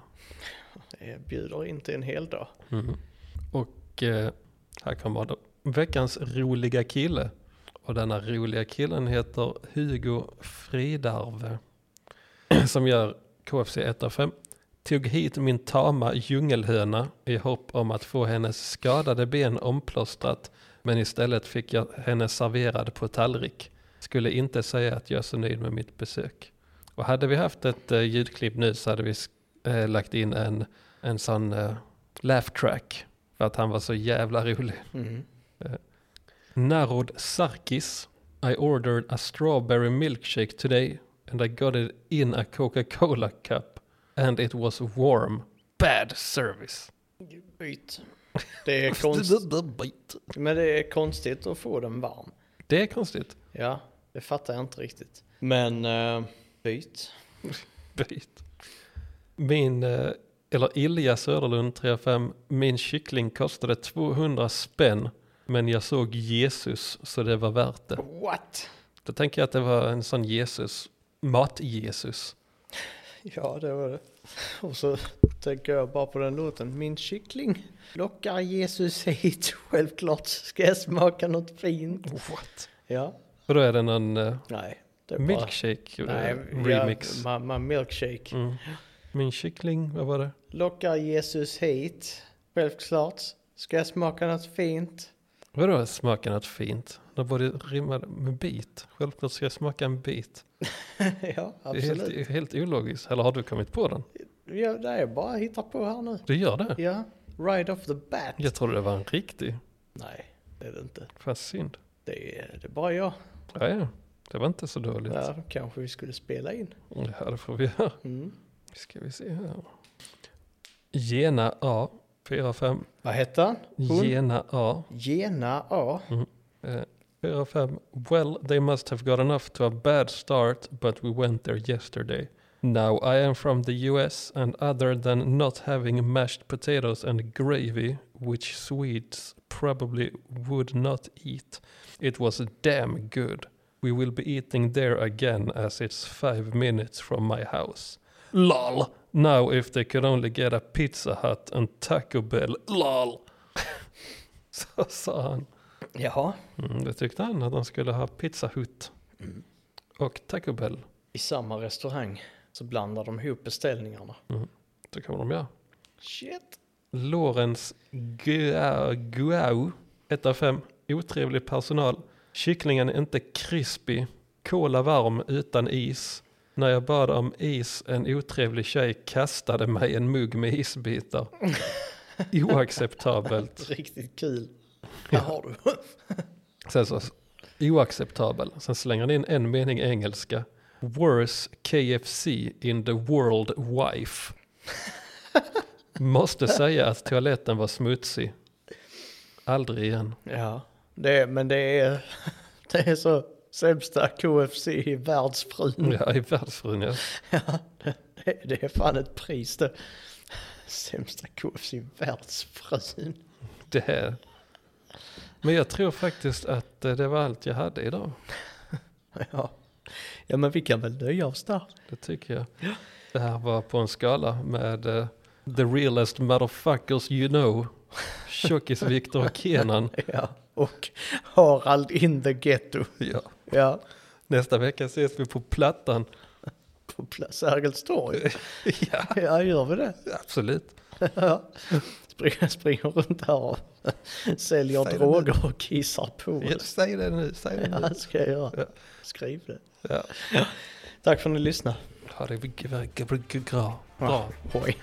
Jag bjuder inte en hel dag. Mhm. Och eh, här kommer då veckans roliga kille. Och denna roliga killen heter Hugo Fridarve. Som gör KFC 1 av 5. Tog hit min tama djungelhöna i hopp om att få hennes skadade ben omplåstrat. Men istället fick jag henne serverad på tallrik. Skulle inte säga att jag är så nöjd med mitt besök. Och hade vi haft ett eh, ljudklipp nu så hade vi eh, lagt in en, en sån eh, laugh track. För att han var så jävla rolig. Mm. Narod Sarkis. I ordered a strawberry milkshake today and I got it in a Coca-Cola cup. And it was warm. Bad service. Byt. Det är, konst... Bit. Men det är konstigt att få den varm. Det är konstigt. Ja, det fattar jag inte riktigt. Men eh, byt. Bit. Min, eh, eller Ilja Söderlund 35, min kyckling kostade 200 spänn. Men jag såg Jesus så det var värt det. What? Då tänker jag att det var en sån Jesus, mat-Jesus. Ja, det var det. Och så tänker jag bara på den låten. Min kyckling lockar Jesus hit. Självklart ska jag smaka något fint. What? Ja, Och då är det någon eh, nej. Det är bara... milkshake eh, Nej, remix. Ja, man, man milkshake. Mm. Min kyckling, vad var det? Lockar Jesus hit. Självklart ska jag smaka något fint. Vadå smaka något fint? Det borde rimma med bit. Självklart ska jag smaka en bit. ja, Det är absolut. helt, helt ologiskt. Eller har du kommit på den? Ja, det är bara hittar på här nu. Du gör det? Ja, right off the bat. Jag trodde det var en riktig. Nej, det är det inte. Fast synd. Det är, det är bara jag. Ja, ja. Det var inte så dåligt. Ja. Där kanske vi skulle spela in. det får vi göra. Mm. Ska vi se här. Gena A. 4-5. Vad hette han? Hon? Gena A. Gena A. 4-5. Eh, Well, they must have got enough to a bad start, but we went there yesterday. Now I am from the US, and other than not having mashed potatoes and gravy, which Swedes probably would not eat, it was damn good. We will be eating there again as it's five minutes from my house. LOL! Now if they could only get a Pizza Hut and Taco Bell, LOL! Så sa han. Jaha, Mm, det tyckte han att han skulle ha Pizza Hut och Taco Bell. i samma restaurang så blandar de ihop beställningarna. Det kommer de göra. Shit. Lorenz Gua- Guau, 1 av 5. Otrevlig personal. Kycklingen är inte crispy. Cola varm utan is. När jag bad om is en otrevlig tjej kastade mig en mugg med isbitar. Oacceptabelt. Riktigt kul. Här har du. Sen så, oacceptabel. Sen slänger han in en mening engelska. Worse KFC in the world wife. Måste säga att toaletten var smutsig. Aldrig igen. Ja, det, är- men det är, det är så sämsta KFC i världsfrun. Ja, i världsfrun ja. Ja, det, det- det är fan ett pris det. Sämsta KFC i världsfrun. Det här. Men jag tror faktiskt att eh, det var allt jag hade idag. Ja. ja, men vi kan väl nöja oss där. Det tycker jag. Det här var på en skala med eh, the realest motherfuckers you know. Tjockis-Viktor och Kenan. Ja, och Harald in the ghetto. Ja. Ja, Nästa vecka ses vi på Plattan. på Pla- Sergels torg. Ja, Ja, gör vi det? absolut. Ja. Springer, springer runt här och säljer Säg det nu. droger och kissar på. Ja, Säg det nu, säg det Ja, nu. det ska jag Ja. göra. Skriv det. Ja. Tack för att ni lyssnade. Ha det bra. bra. Hoj.